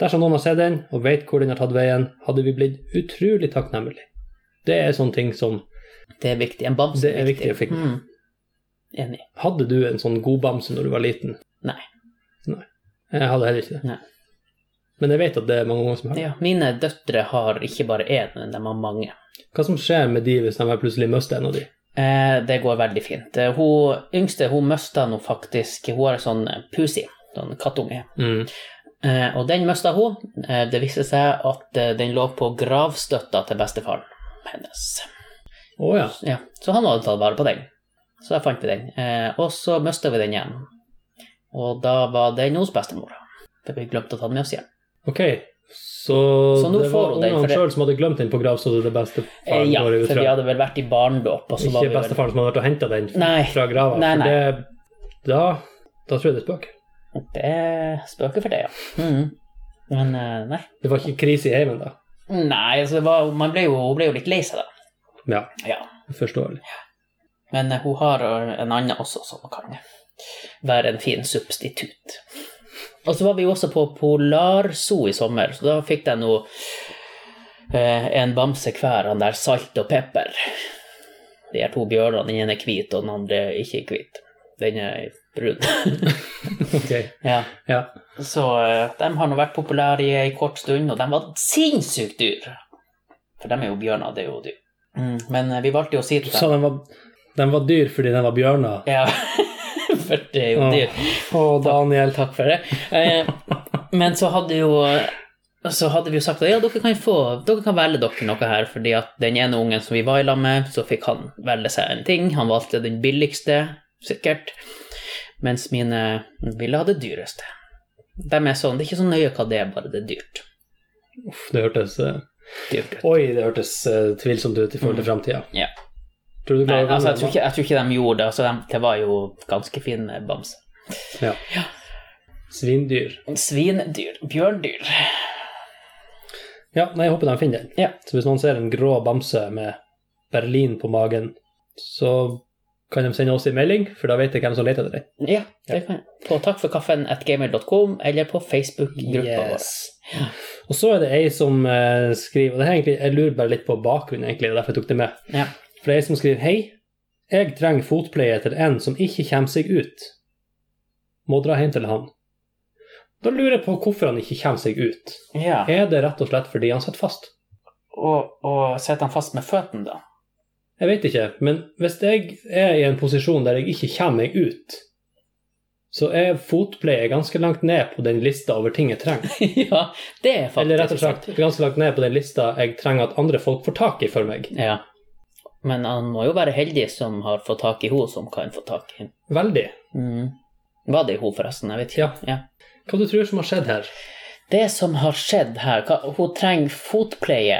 S2: Dersom noen har sett den og veit hvor den har tatt veien, hadde vi blitt utrolig takknemlige. Det er sånne ting som
S1: Det er viktig. En bamse
S2: Det er viktig å fikse.
S1: Mm. Enig.
S2: Hadde du en sånn god bamse når du var liten?
S1: Nei.
S2: Nei. Jeg hadde heller ikke det.
S1: Nei.
S2: Men jeg vet at det er mange unger som har det.
S1: Ja, mine døtre har ikke bare én, men de har mange.
S2: Hva som skjer med de hvis de bare plutselig mister en av de?
S1: Eh, det går veldig fint. Eh, Hun yngste hun mista nå faktisk Hun har en sånn eh, pusi, sånn kattunge.
S2: Mm.
S1: Eh, og den mista hun. Eh, det viste seg at eh, den lå på gravstøtta til bestefaren hennes.
S2: Å ja.
S1: Ja, så han hadde tatt vare på den. Så da fant vi den. Eh, og så mista vi den igjen. Og da var den hos bestemor. For vi glemte å ta den med oss hjem.
S2: Ok. Så,
S1: Så nå
S2: det
S1: får
S2: var
S1: hun den,
S2: ungene
S1: for det-
S2: sjøl som hadde glemt den på gravstedet til
S1: Eh,
S2: bestefaren?
S1: ja,
S2: går jeg ut
S1: for vi
S2: fra.
S1: hadde vel vært i barndåp, og så var
S2: Ikke
S1: vi vel
S2: bestefaren som hadde vært og henta den
S1: Nei.
S2: fra grava?
S1: Nei, nei.
S2: For det, da, da tror jeg det er spøk.
S1: Det Eh, spøker for det, ja. Mhm. Men eh, nei.
S2: Det var ikke krise i heimen da?
S1: Nei, altså det var, man ble jo, hun ble jo litt lei seg, da.
S2: Ja,
S1: Ja.
S2: forståelig.
S1: Men eh, hun har eh, en annen også som kan være en fin substitutt. Og så var vi jo også på Polarzoo i sommer, så da fikk jeg nå eh, en bamse hver, han der salt og pepper. De her to bjørnene, den ene er hvit, og den andre er ikke hvit. Den er brun.
S2: Ok,
S1: ja.
S2: ja.
S1: Så eh, de har nå vært populære i ei kort stund, og de var sinnssykt dyr. For de er jo bjørner, det er jo dyr. Mm, men eh, vi valgte jo å si til
S2: Så
S1: dem
S2: den var, den var dyr fordi den var bjørner?
S1: Ja, for det er jo
S2: Åh.
S1: dyr.
S2: Å, Daniel.
S1: Takk for det. Eh, men så hadde jo så hadde vi jo sagt at ja, dere kan, få, dere kan velge dere noe her, fordi at den ene ungen som vi var i lag med, så fikk han velge seg en ting. Han valgte den billigste, sikkert, mens mine ville ha det dyreste. De er sånn, Det er ikke så nøye hva det er, bare det er dyrt.
S2: Uff, det hørtes eh,
S1: dyrt ut.
S2: Oi, det hørtes eh, tvilsomt ut i forhold til framtida.
S1: Ja.
S2: Tror du
S1: Mm.
S2: du
S1: Nei,
S2: klarer
S1: altså, jeg, tror
S2: å vinne den?
S1: ikke, jeg tror ikke de gjorde det. Altså, de, det var jo ganske fin bamse.
S2: Svindyr.
S1: Svindyr. Bjørndyr.
S2: Ja, nei, jeg håper de finner den.
S1: Ja.
S2: Så hvis noen ser en grå bamse med Berlin på magen, så kan de sende oss en melding, for da vet jeg hvem som leter etter den.
S1: Mm. Ja, det kan jeg. På takkforkaffen.gamer.com eller på Facebook-gruppa
S2: Og så er det ei som eh, skriver, og det her egentlig, jeg lurer bare litt på bakgrunnen, egentlig, det er derfor jeg tok det med.
S1: vår. Ja.
S2: For det er ei som skriver Hei, jeg trenger fotpleie til en som ikke kommer seg ut. Må dra hjem til han. Da lurer jeg på hvorfor han ikke kommer seg ut.
S1: ja.
S2: Er det rett og slett fordi han sitter fast?
S1: Og, og setter han fast med føttene, da?
S2: Jeg vet ikke, men hvis jeg er i en posisjon der jeg ikke kommer meg ut, så er fotpleie ganske langt ned på den lista over ting jeg trenger.
S1: ja, det er faktisk
S2: Eller rett og slett ganske langt ned på den lista jeg trenger at andre folk får tak i for meg.
S1: Ja. Men han må jo være heldig som har fått tak i henne som kan få tak i henne.
S2: Veldig.
S1: Mm. Var det hun, forresten? Jeg vet ikke.
S2: Ja. Hva du tror som har skjedd her
S1: Det som har skjedd her hva, Hun trenger fotpleie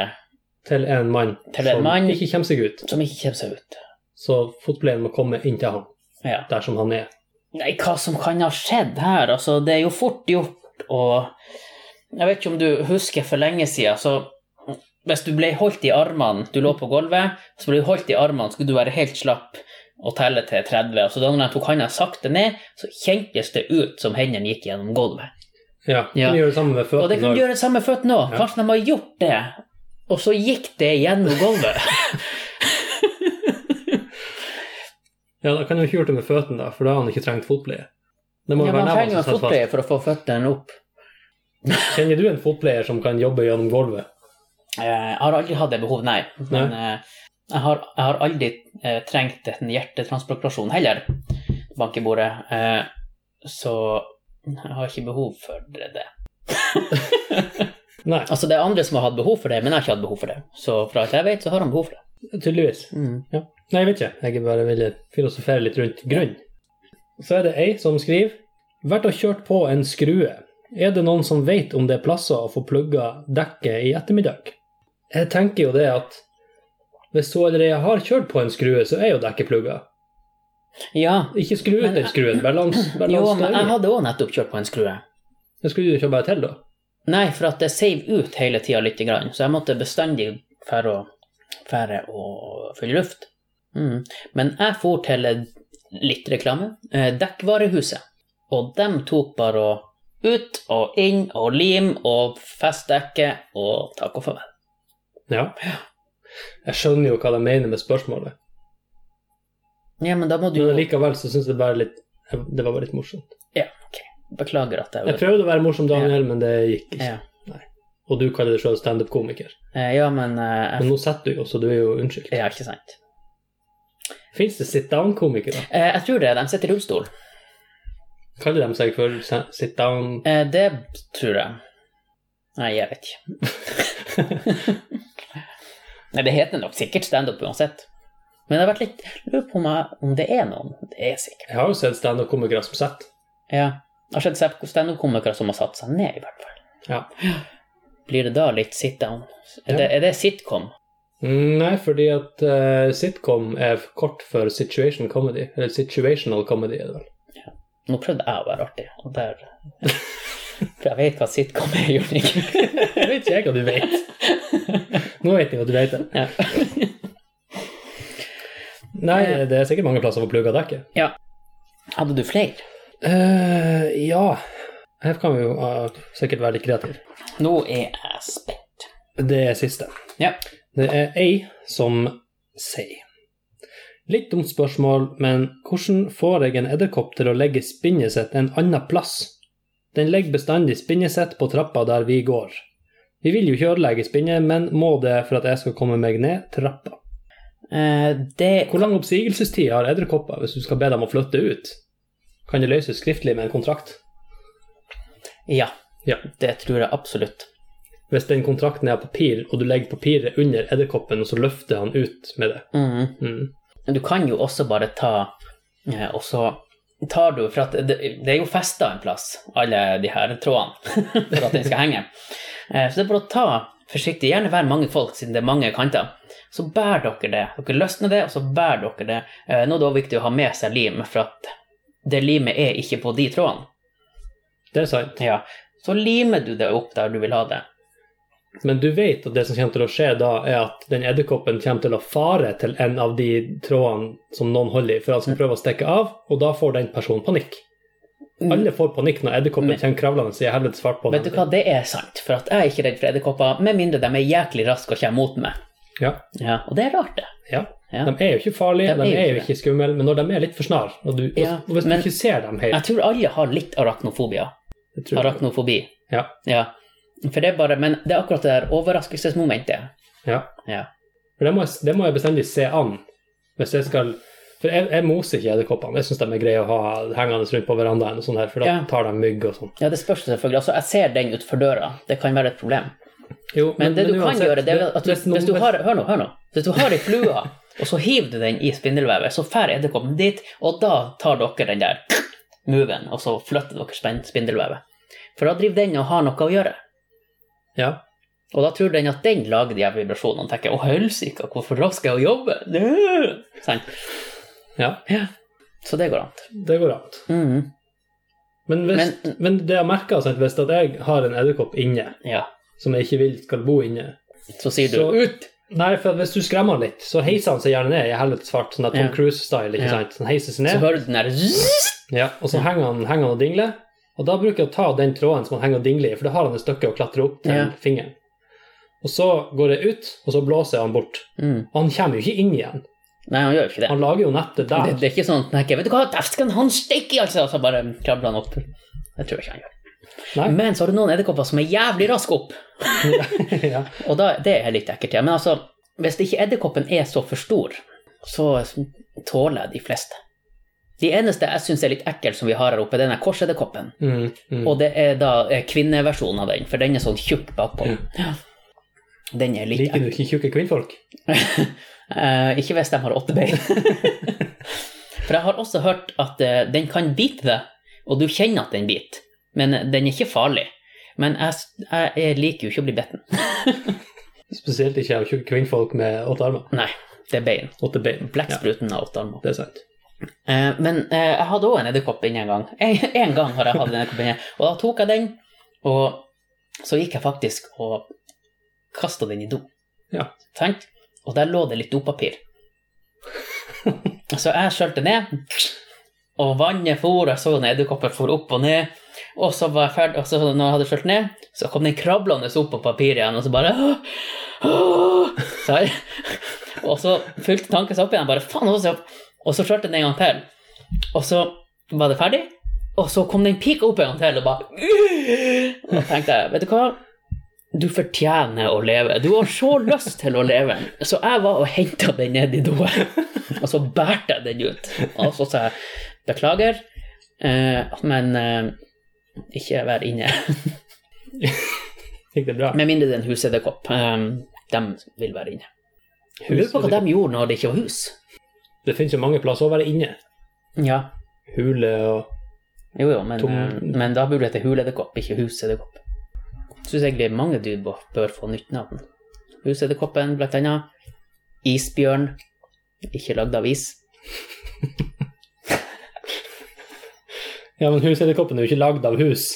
S2: til en mann
S1: Til en
S2: som
S1: mann-
S2: ikke kommer seg ut?
S1: som ikke kommer seg ut.
S2: Så fotpleien må komme inn til han,
S1: Ja.
S2: der som han er.
S1: Nei, hva som kan ha skjedd her? Altså, det er jo fort gjort og Jeg vet ikke om du husker for lenge siden, så hvis du ble holdt i armene, du lå på gulvet, så ble du holdt i armene, skulle du være helt slapp og telle til 30. Og så da når jeg tok hånda sakte ned, så kjentes det ut som hendene gikk gjennom gulvet.
S2: Ja,
S1: Ja.
S2: Kan gjøre det samme med
S1: Og det
S2: føttene.
S1: kan du
S2: også.
S1: gjøre det samme med føttene òg.
S2: Ja.
S1: Kanskje de har gjort det, og så gikk det gjennom gulvet.
S2: Ja, da kan du ikke gjøre det med føttene, da, for da har han ikke trengt fotpleie. Det
S1: Ja,
S2: må jo
S1: man
S2: være
S1: trenger
S2: nevene
S1: jo
S2: som
S1: en
S2: sitter fast.
S1: fotpleie for å få føttene opp.
S2: Kjenner du en fotpleier som kan jobbe gjennom gulvet?
S1: Eh, Jeg har aldri hatt det behovet, nei. Men eh, jeg, har, jeg har aldri eh, trengt en hjertetransplantasjon heller, bank i bordet. Eh, så jeg har ikke behov for det. det.
S2: Nei,
S1: Altså, det er andre som har hatt behov for det, men jeg har ikke hatt behov for det. Så fra alt jeg vet, så har han behov for det.
S2: tydeligvis. Nei, jeg vet ikke. Jeg bare ville filosofere litt rundt grunn. Så er det ei som skriver Vært og kjørt på en skrue. Er det noen som vet om det er plasser å få plugga dekket i ettermiddag? Jeg tenker jo det at hvis hun allerede har kjørt på en skrue, så er jo dekket plugga.
S1: Ja.
S2: Ikke skru ut den skruen, bare la den- bare
S1: eh,
S2: la
S1: Jo, men
S2: den
S1: jeg
S2: stå i.
S1: hadde òg nettopp kjørt på en skrue.
S2: Da skulle du kjøre bare til, da.
S1: Nei, for at det seiv ut hele tida lite grann, så jeg måtte bestandig fære å, fære å fylle luft. Mm. Men jeg for til litt reklame, eh, Dekkvarehuset, og dem tok bare å ut og inn og lim og festdekke og takk og farvel.
S2: Ja. Jeg skjønner jo hva de mener med spørsmålet.
S1: Ja, men da må du
S2: Men likevel så syns jeg bare litt Det var bare litt morsomt.
S1: Ja, ok. Beklager at jeg
S2: Jeg prøvde å være morsom, Daniel, men det gikk ikke.
S1: Ja.
S2: Nei. og du kaller deg sjøl standup-komiker.
S1: Eh, ja, men eh,
S2: Men nå setter du jo, så du er jo unnskyldt.
S1: jeg- Ja, ikke sant.
S2: Fins det sit down-komikere?
S1: Eh, jeg tror det. De sitter i rullestol.
S2: Kaller de seg for sa- sit down
S1: Eh, det tror jeg. Nei, jeg vet ikke. Nei, det heter nok sikkert standup uansett. Men jeg har vært litt lurer på meg om det er noen. Det er sikkert.
S2: Jeg har jo sett standup-komikere som sitter.
S1: Ja. Jeg har sett standup-komikere som har satt seg ned, i hvert fall.
S2: Ja.
S1: Blir det da litt sit down? Er,
S2: Ja.
S1: det, er det sitcom?
S2: Mm, Nei, fordi at eh, sitcom er kort for situation comedy. Eller situational comedy, er det vel.
S1: Nå prøvde jeg å være artig, og der For jeg vet hva sitcom er, gjør jeg ikke?
S2: Jeg vet ikke jeg hva du vet. Nå vet jeg hva du vet. det.
S1: Ja.
S2: Nei, det er sikkert mange plasser for plugga dekket.
S1: Hadde du flere?
S2: Uh, ja. Her kan vi jo eh, sikkert være litt kreative.
S1: Nå er jeg spent.
S2: Det er siste.
S1: Ja.
S2: Det er ei som sier. Litt dumt spørsmål, men hvordan får jeg en edderkopp til å legge spinnet sitt en annen plass? Den legger bestandig spinnet sitt på trappa der vi går. Vi vil jo ikke ødelegge spinnet, men må det for at jeg skal komme meg ned trappa.
S1: Eh, det
S2: Hvor lang oppsigelsestid har edderkopper hvis du skal be dem å flytte ut? Kan det løses skriftlig med en kontrakt?
S1: Ja.
S2: Ja.
S1: Det tror jeg absolutt.
S2: Hvis den kontrakten er av papir, og du legger papiret under edderkoppen, og så løfter han ut med det.
S1: Mhm.
S2: Mm.
S1: Du kan jo også bare ta eh, Og så tar du For at det, det er jo festa en plass, alle de her trådene, for at den skal henge. Eh, Så det er bare å ta forsiktig, gjerne være mange folk, siden det er mange kanter. Så bærer dere det. Dere løsner det, og så bærer dere det. Eh, Nå er det også viktig å ha med seg lim, for at det limet er ikke på de trådene.
S2: Det er sant.
S1: Ja. Så limer du det opp der du vil ha det.
S2: Men du vet at det som kommer til å skje da, er at den edderkoppen kommer til å fare til en av de trådene som noen holder i, for han skal prøve å stikke av, og da får den personen panikk. Alle får panikk når edderkoppen
S1: Mm. Men-
S2: kommer kravlende i helvetes fart på
S1: Vet du hva, det er sant, for at jeg er ikke redd for edderkopper, med mindre de er jæklig raske og kommer mot meg.
S2: Ja,
S1: Ja, og det er rart, det.
S2: ja.
S1: Ja.
S2: De er jo ikke farlige,
S1: De
S2: de
S1: er jo
S2: er
S1: ikke
S2: jo ikke skumle, men når de er litt for snar, og, du,
S1: Ja,
S2: og hvis
S1: men-
S2: du ikke ser dem helt
S1: Jeg tror alle har litt arachnofobia.
S2: det tror jeg-
S1: Arachnofobi.
S2: Ja.
S1: Ja. For det er bare Men det er akkurat det der overraskelsesmomentet.
S2: ja.
S1: Ja.
S2: For det må, jeg, det må jeg bestandig se an. Hvis jeg skal For jeg, jeg moser ikke edderkoppene. Jeg syns de er greie å ha hengende rundt på verandaen, og sånn her, for da
S1: Ja.
S2: tar de mygg og sånn.
S1: Ja, det spørs selvfølgelig. Altså, jeg ser den utenfor døra. Det kan være et problem.
S2: Jo,
S1: Men, det du
S2: uansett,
S1: kan gjøre, det er at du,
S2: hvis noen-
S1: hvis du har Hør nå, hør nå. Hvis du har ei flue, og så hiver du den i spindelvevet, så drar edderkoppen dit, og da tar dere den der moven, og så flytter dere spen- spindelvevet. For da driver den og har noe å gjøre.
S2: Ja.
S1: Og da tror den at den lager de her vibrasjonene. tenker jeg, å helsike, hvorfor rask er jeg å jobbe? Nø! Sant?
S2: ja,
S1: Så det går an.
S2: det går an.
S1: Mhm.
S2: Men, hvis, men, det jeg merker, altså, at hvis at jeg har en edderkopp inne,
S1: Ja.
S2: som jeg ikke vil skal bo inne
S1: Så sier du
S2: Så-
S1: ut!
S2: Nei, for at hvis du skremmer han litt, så heiser han seg gjerne ned i helvetes fart, sånn at Tom
S1: Ja.
S2: Cruise-style,
S1: Ja.
S2: ikke sant? Så Han heiser seg
S1: Så
S2: ned,
S1: hører du den der zzz,
S2: ja, og så henger han, henger han og dingler. Og da bruker jeg å ta den tråden som han henger og dingler i, for da har han et stykke å klatre opp til
S1: Ja.
S2: fingeren. Og så går jeg ut, og så blåser jeg han bort.
S1: Mm.
S2: Og han kommer jo ikke inn igjen.
S1: Nei, han gjør jo ikke det.
S2: Han lager jo nettet der.
S1: Det, det er ikke sånn at han tenker 'Vet du hva, dæsken, han stikker!' Altså, og så bare krabler han opp. Det tror jeg ikke han gjør.
S2: Nei.
S1: Men så har du noen edderkopper som er jævlig raske opp,
S2: ja.
S1: og da, det er litt ekkelt. Ja. Men altså, hvis ikke edderkoppen er så for stor, så tåler jeg de fleste. De eneste jeg syns er litt ekkel som vi har her oppe, det er den her korsedderkoppen.
S2: Mm, mm.
S1: Og det er da eh, kvinneversjonen av den, for den er sånn tjukk bakpå. Den er litt
S2: Liker du ikke tjukke kvinnfolk?
S1: Eh, ikke hvis de har åtte bein. For jeg har også hørt at eh, den kan bite deg, og du kjenner at den biter. Men eh, den er ikke farlig. Men jeg, s- jeg, jeg liker jo ikke å bli bitten.
S2: Spesielt ikke av tjukke kvinnfolk med åtte armer.
S1: Nei, det er bein.
S2: Åtte bein. Ja,
S1: Blekkspruten har åtte armer.
S2: det er sant.
S1: Eh, men eh, jeg hadde òg en edderkopp inne en gang. En, en gang har jeg hatt en edderkopp inne. Og da tok jeg den, og så gikk jeg faktisk og kasta den i do.
S2: Ja.
S1: Sant? Og der lå det litt dopapir. så jeg skjølte ned, og vannet for, og jeg så den edderkoppen for opp og ned. Og så var jeg ferdig, og så når jeg hadde skjølt ned, så kom den krablende opp på papiret igjen, og så bare «Åh, åh», så her. Og så fulgte tanken seg opp igjen, bare faen, nå må jeg se opp. Og så skjørte den en gang til. Og så var det ferdig, og så kom den pika opp en gang til, og bare «Åh!» Og da tenkte jeg, vet du hva, du fortjener å leve. Du har så lyst til å leve. Så jeg var og henta den ned i doen, og så bærte jeg den ut. Og så sa jeg beklager, eh, men eh, ikke vær inne.
S2: Gikk det bra?
S1: Med mindre det er en husedderkopp. Um, de vil være inne. Jeg lurer på hva de gjorde når det ikke var hus.
S2: Det finnes jo mange plasser å være inne.
S1: Ja,
S2: Hule og
S1: jo jo, men,
S2: Tom-
S1: eh, men da burde det hete huledderkopp, ikke husedderkopp. Syns egentlig mange dyr bør bør få nytt navn. Husedderkoppen, blant annet. Isbjørn. Ikke lagd av is.
S2: Ja, men husedderkoppen er jo ikke lagd av hus.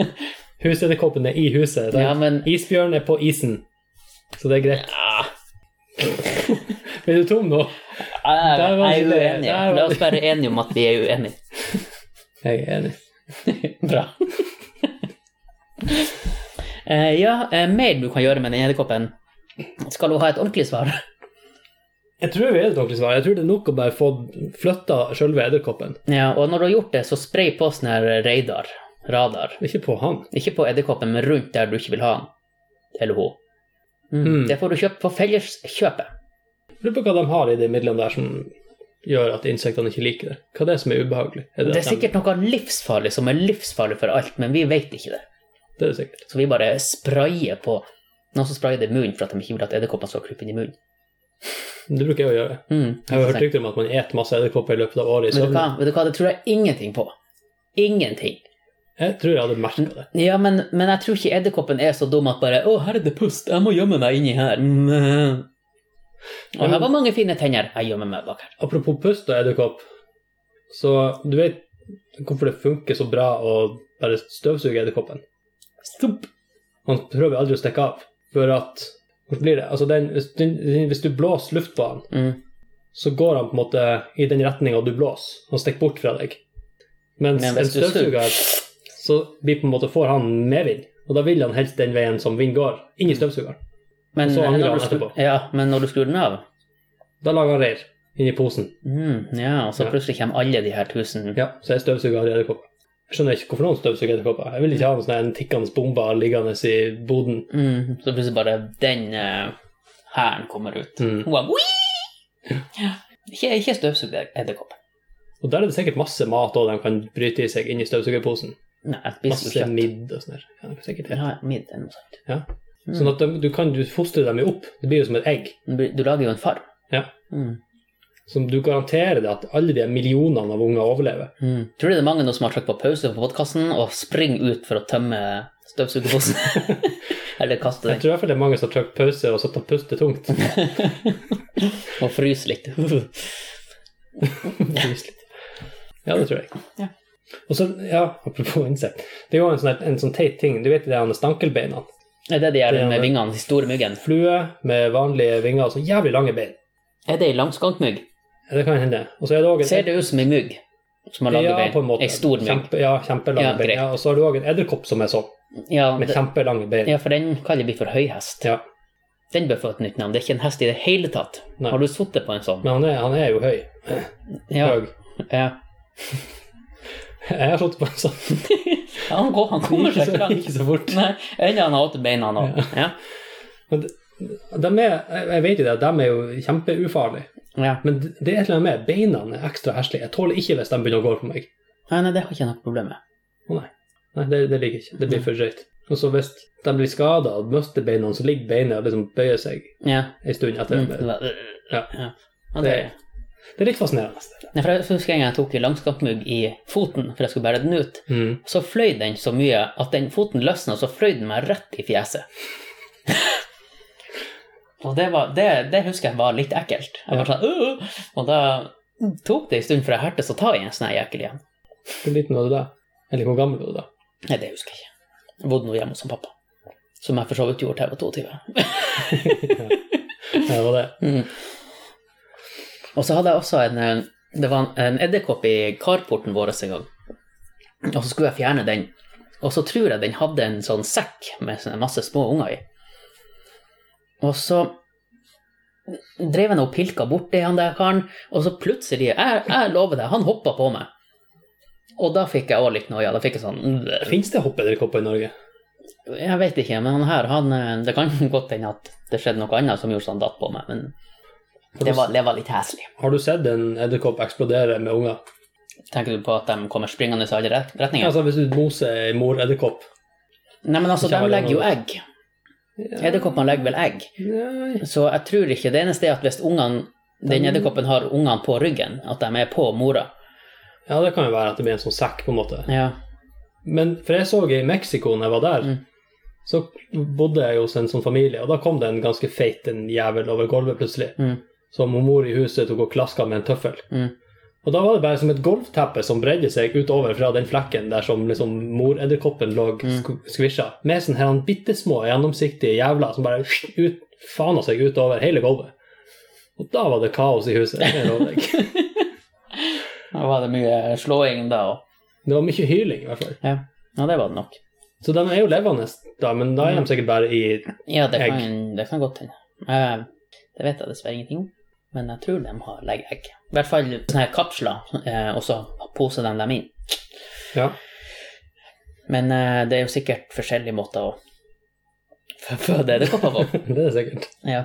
S2: Husedderkoppen er i huset. sant?
S1: Ja, men
S2: Isbjørn er på isen, så det er greit.
S1: ah,
S2: Blir du tom nå?
S1: Jeg
S2: Der var
S1: jeg er
S2: det-
S1: uenig.
S2: der var
S1: La oss
S2: det.
S1: være enige om at vi er uenige.
S2: Jeg er enig.
S1: Bra. Eh, ja, eh, mer du kan gjøre med den edderkoppen. Skal hun ha et ordentlig svar?
S2: Jeg tror vi er det ordentlig svar. Jeg tror det er nok å bare få flytta sjølve edderkoppen.
S1: Ja, og når du har gjort det, så spray på sånn her radar. radar.
S2: Ikke på han.
S1: Ikke på edderkoppen, men rundt der du ikke vil ha den. Eller hun. Mm.
S2: Mm.
S1: Det får du kjøpt på Felleskjøpet.
S2: Lurer på hva de har i de midlene der som gjør at insektene ikke liker det. Hva er det som er ubehagelig? Er
S1: Det er
S2: at de-
S1: sikkert noe livsfarlig som er livsfarlig for alt, men vi vet ikke det.
S2: Det er det sikkert.
S1: Så vi bare sprayer på. Noen som sprayer det i munnen for at de ikke vil at edderkoppen skal krype inn i munnen.
S2: Det bruker jeg å gjøre.
S1: Mm.
S2: Jeg har hørt rykter om at man eter masse edderkopper i løpet av året i
S1: Vet du, hva?
S2: søvne.
S1: Vet du hva, det sånn- tror jeg ingenting på. Ingenting.
S2: Jeg tror jeg hadde merka det.
S1: Ja, men, men jeg tror ikke edderkoppen er så dum at bare 'Å, her er det pust, jeg må gjemme meg inni her'. Mm. Og her var mange fine tenner. Jeg gjemmer meg bak her.
S2: Apropos pust og edderkopp, så du vet hvorfor det funker så bra å bare støvsuge edderkoppen?
S1: Stopp.
S2: Han prøver aldri å stikke av, for at Hvordan blir det? Altså, den, hvis, den, hvis du blåser luft på han,
S1: Mm.
S2: så går han på en måte i den retninga du blåser, og stikker bort fra deg. Mens
S1: Men
S2: en
S1: hvis du
S2: støvsuger, så blir på en måte får han medvind, og da vil han helst den veien som vind går, inn i støvsugeren.
S1: Men,
S2: Og så angrer
S1: når
S2: han
S1: du skrur,
S2: etterpå.
S1: ja, men når du skrur den av
S2: Da lager han reir inn i posen.
S1: mm, Ja, og så
S2: Ja.
S1: plutselig kommer alle de her tusen
S2: Ja, så jeg støvsuger i edderkopper. Jeg skjønner ikke hvorfor noen støvsuger edderkopper. Jeg vil ikke ha en sånn her en tikkende bombe liggende i boden.
S1: mm, Så plutselig bare den eh, hæren kommer ut.
S2: Mm.
S1: Wow. Ja. Ikke, ikke støvsug edderkopp.
S2: Og der er det sikkert masse mat også de kan bryte i seg inn i støvsugerposen.
S1: Nei, jeg spiser jo
S2: Masse
S1: kjøtt.
S2: midd og sånn der. Ja, sikkert det.
S1: Ja, midd eller noe sånt. Mm.
S2: Sånn at de, du kan du fostre dem jo opp. Det blir jo som et egg.
S1: Du lager jo en farm.
S2: Ja.
S1: Mm.
S2: Som du garanterer deg at alle de millionene av unger overlever.
S1: Mm. Tror du det er mange nå som har trykt på pause på podkasten og springer ut for å tømme støvsugerposen? Eller kaste
S2: Jeg
S1: den
S2: tror i hvert fall det er mange som har trykt pause og satt og pustet tungt.
S1: og fryse litt.
S2: ja, det tror jeg.
S1: Ja.
S2: Og så, ja, apropos insekt. Det er jo en sånn, her- en sånn teit ting. Du vet det er stankelbeina.
S1: Er det de gjør
S2: Det er
S1: med
S2: det.
S1: vingene, de store myggen?
S2: Flue med vanlige vinger og så jævlig lange bein.
S1: Er det ei langskankmygg?
S2: Ja, Det kan hende. Og så er det også en-
S1: Ser det ut som ei mygg som har
S2: ja,
S1: laget
S2: på en
S1: bein?
S2: måte.
S1: Ei stor mygg.
S2: Kjempe, ja, kjempelange
S1: Ja,
S2: bein.
S1: greit.
S2: Ja, og så har du òg en edderkopp som er sånn,
S1: Ja,
S2: med
S1: det-
S2: kjempelange bein.
S1: ja, for den kaller vi for høyhest.
S2: Ja.
S1: Den bør få et nytt navn. Det er ikke en hest i det hele tatt.
S2: Nei.
S1: Har du sittet på en sånn?
S2: Men han er, han er jo høy.
S1: Ja.
S2: Høy.
S1: ja.
S2: Jeg har slått på en sånn.
S1: Han, går, han kommer
S2: Ikke
S1: seg
S2: så,
S1: ikke langt.
S2: ikke så fort.
S1: Nei, Enda han har åtte beina nå. Ja.
S2: De er, jeg- jeg vet jo det, de er jo kjempeufarlige.
S1: Ja.
S2: Men det det er et eller annet med beina er ekstra heslige. Jeg tåler ikke hvis de begynner å gå på meg.
S1: Nei, nei, det har ikke jeg noe problem med.
S2: Å nei. Nei, det, det liker jeg ikke. Det blir for drøyt. Og så hvis de blir skada og mister beina, så ligger beina og liksom bøyer seg
S1: Ja.
S2: en stund etter.
S1: Mm. det var-
S2: Ja.
S1: Ja, det,
S2: Det- Det er litt fascinerende.
S1: Nei, for jeg husker en gang jeg tok langskampmugg i foten, for jeg skulle bære den ut.
S2: Mm.
S1: Så fløy den så mye at den foten løsna, så fløy den meg rett i fjeset. og det, var, det, det husker jeg var litt ekkelt. Jeg var sånn, «Åh!» og da tok det en stund før jeg hørtes å ta i en sånn her jækel igjen.
S2: Hvor liten var du da? Eller hvor gammel var du da?
S1: Nei, det husker jeg ikke. Jeg bodde nå hjemme hos han pappa. Som jeg for så vidt gjorde til jeg var 22.
S2: Ja, det var det.
S1: Mm. Og så hadde jeg også en eh, Det var en- en edderkopp i carporten vår en gang. Og så skulle jeg fjerne den. Og så tror jeg den hadde en sånn sekk med sånn masse små unger i. Og så drev han og pilka borti han der karen, og så plutselig Jeg, jeg lover deg, han hoppa på meg. Og da fikk jeg òg litt noia. Da fikk jeg sånn
S2: Fins det hoppedderkopper i Norge?
S1: Jeg vet ikke, men han her, han eh, Det kan godt hende at det skjedde noe annet som gjorde så han datt på meg, men det var, det var litt heslig.
S2: Har du sett en edderkopp eksplodere med unger?
S1: Tenker du på at de kommer springende i alle ret- retninger?
S2: Altså Hvis du moser ei mor-edderkopp
S1: Nei, men altså,
S2: Ikke
S1: de
S2: alle
S1: legger jo
S2: noe.
S1: egg. Edderkoppene legger vel egg.
S2: Nei.
S1: Så jeg tror ikke det eneste er at hvis ungene den edderkoppen har ungene på ryggen, at de er på mora.
S2: Ja, det kan jo være at det blir en sånn sekk, på en måte.
S1: Ja.
S2: Men for jeg så i Mexico når jeg var der,
S1: Mm.
S2: så bodde jeg hos en sånn familie, og da kom det en ganske feit en jævel over gulvet plutselig.
S1: Mm.
S2: Som hun mor i huset tok og klaska med en tøffel.
S1: Mm.
S2: Og da var det bare som et golfteppe som bredde seg utover fra den flekken der som liksom moredderkoppen lå sk- skvisja, med sånne her bitte små gjennomsiktige jævler som bare ut, fana seg utover hele gulvet. Og da var det kaos i huset. Det lover jeg.
S1: Da var det mye slåing da òg.
S2: Det var mye hyling, i hvert fall.
S1: Ja. ja, det var det nok.
S2: Så de er jo levende, da, men da er
S1: Mm.
S2: de sikkert bare i
S1: Ja, det
S2: Egg.
S1: kan, det kan godt hende. Eh, Det vet jeg dessverre ingenting om, men jeg tror de har leggeegg. I hvert fall sånne her kapsler, eh, og så poser de dem inn.
S2: Ja.
S1: Men eh, det er jo sikkert forskjellige måter å f- føde edderkopper på.
S2: Det er det sikkert.
S1: Ja.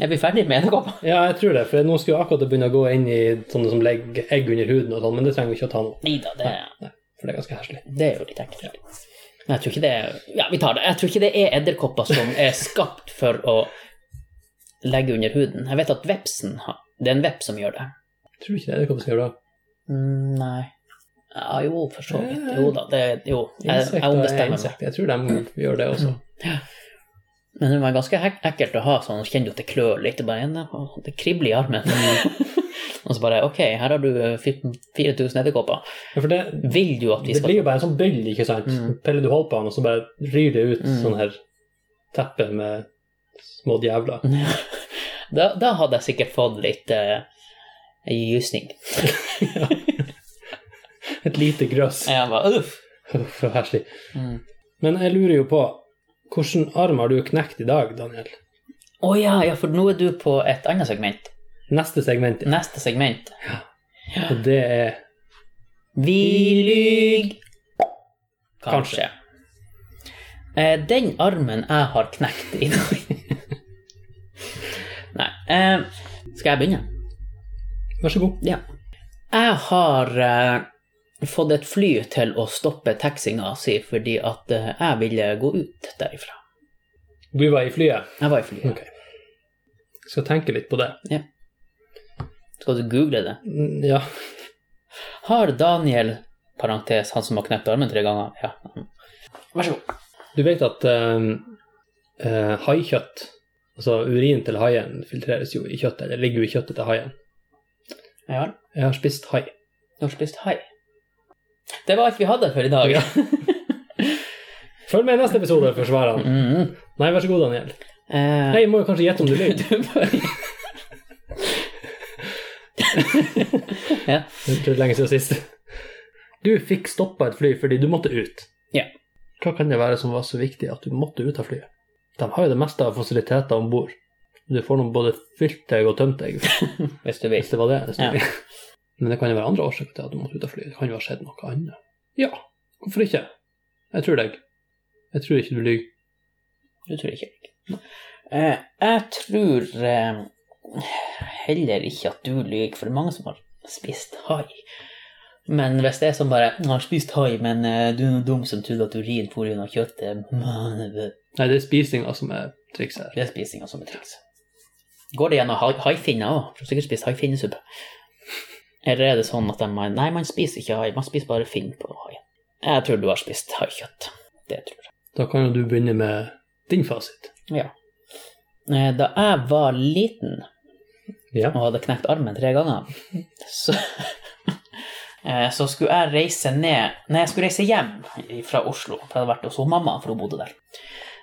S1: Er vi ferdig med edderkopper?
S2: Ja, jeg tror det, for nå skulle jeg akkurat begynne å gå inn i sånne som legger egg under huden og sånn, men det trenger vi ikke å ta nå,
S1: Nei da, det,
S2: for det er ganske herselig.
S1: det er jo litt ekkelt. Men jeg tror ikke det er Ja, vi tar det. Jeg tror ikke det er edderkopper som er skapt for å legge under huden. Jeg vet at vepsen har Det er en veps som gjør det.
S2: Jeg tror ikke det er det som gjør det.
S1: Mm, Nei. Ja, jo, for så vidt. Jo da, det Jo, jeg, jeg
S2: Insekter er
S1: ombestemmer meg. Mm.
S2: insekter. Jeg tror de gjør det også.
S1: Men det var ganske hek- ekkelt å ha sånn, kjenner du at det klør litt, det bare ene, og det kribler i armen. og så bare, ok, her har du eh, fyrt 4000 edderkopper.
S2: Ja, for det,
S1: Vil du at vi
S2: det
S1: skal...
S2: blir jo bare en sånn bøll, ikke sant?
S1: Mm.
S2: Peller du hold på den, og så bare ryr det ut
S1: Mm.
S2: sånn her teppe med små djevler.
S1: Da, da hadde jeg sikkert fått litt uh, gysning.
S2: Et lite grøss.
S1: Jeg bare, uff.
S2: Uff, så herselig.
S1: Mm.
S2: Men jeg lurer jo på, hvilken arm har du knekt i dag, Daniel?
S1: Å ja, ja, for nå er du på et annet segment.
S2: Neste segment,
S1: Neste segment.
S2: og det er
S1: Vi lyg. Kanskje.
S2: Kanskje.
S1: Eh, den armen jeg har knekt i dag Nei. Eh, skal jeg begynne?
S2: Vær så god.
S1: Ja. Jeg har eh, fått et fly til å stoppe taxinga si fordi at eh, jeg ville gå ut derifra.
S2: Du var i flyet.
S1: Jeg var i flyet.
S2: Ok. Skal tenke litt på det.
S1: Skal du google det?
S2: Mm, Ja.
S1: Har Daniel, parentes, han som har knekt armen tre ganger, ja. Vær så god.
S2: Du vet at ehm, eh, haikjøtt, altså urin til haien, filtreres jo i kjøttet, eller ligger jo i kjøttet til haien.
S1: Ja,
S2: Jeg har spist hai.
S1: du har spist hai. Det var alt vi hadde for i dag.
S2: Ja. Følg med i neste episode for svarene.
S1: Mm.
S2: Nei, vær så god, Daniel.
S1: Eh,
S2: Nei, jeg må jo kanskje gjette om du lyver.
S1: du bare- ja.
S2: Det er lenge siden sist. Du fikk stoppa et fly fordi du måtte ut.
S1: Ja.
S2: Hva kan det være som var så viktig at du måtte ut av flyet? De har jo det meste av fasiliteter om bord. Du får noen både fylt deg og tømt deg.
S1: Hvis du vil.
S2: Hvis det var det. det sto
S1: Ja.
S2: i. Men det kan jo være andre årsaker til at du måtte ut av flyet. Det kan jo ha skjedd noe annet. Ja, hvorfor ikke? Jeg tror deg. Jeg tror ikke du lyver.
S1: Du tror ikke eh, Jeg tror eh, heller ikke at du lyver, for det er mange som har spist hai. Men hvis det er som bare «Jeg 'Har spist hai, men eh, du er noe dum som trodde at urin for unna kjøttet' Man,
S2: Nei, det er spisinga som er trikset her.
S1: Det er spisinga som er triks. altså. Går det gjennom hai- haifinner òg? Får sikkert spist haifinnesuppe. Eller er det sånn at de Nei, man spiser ikke hai, man spiser bare finn på hai. Jeg tror du har spist haikjøtt. Det tror jeg.
S2: Da kan jo du begynne med din fasit.
S1: Ja. Eh, Da jeg var liten
S2: Ja.
S1: og hadde knekt armen tre ganger, så eh, så skulle jeg reise ned Nei, jeg skulle reise hjem fra Oslo, for jeg hadde vært hos hun mamma, for hun bodde der.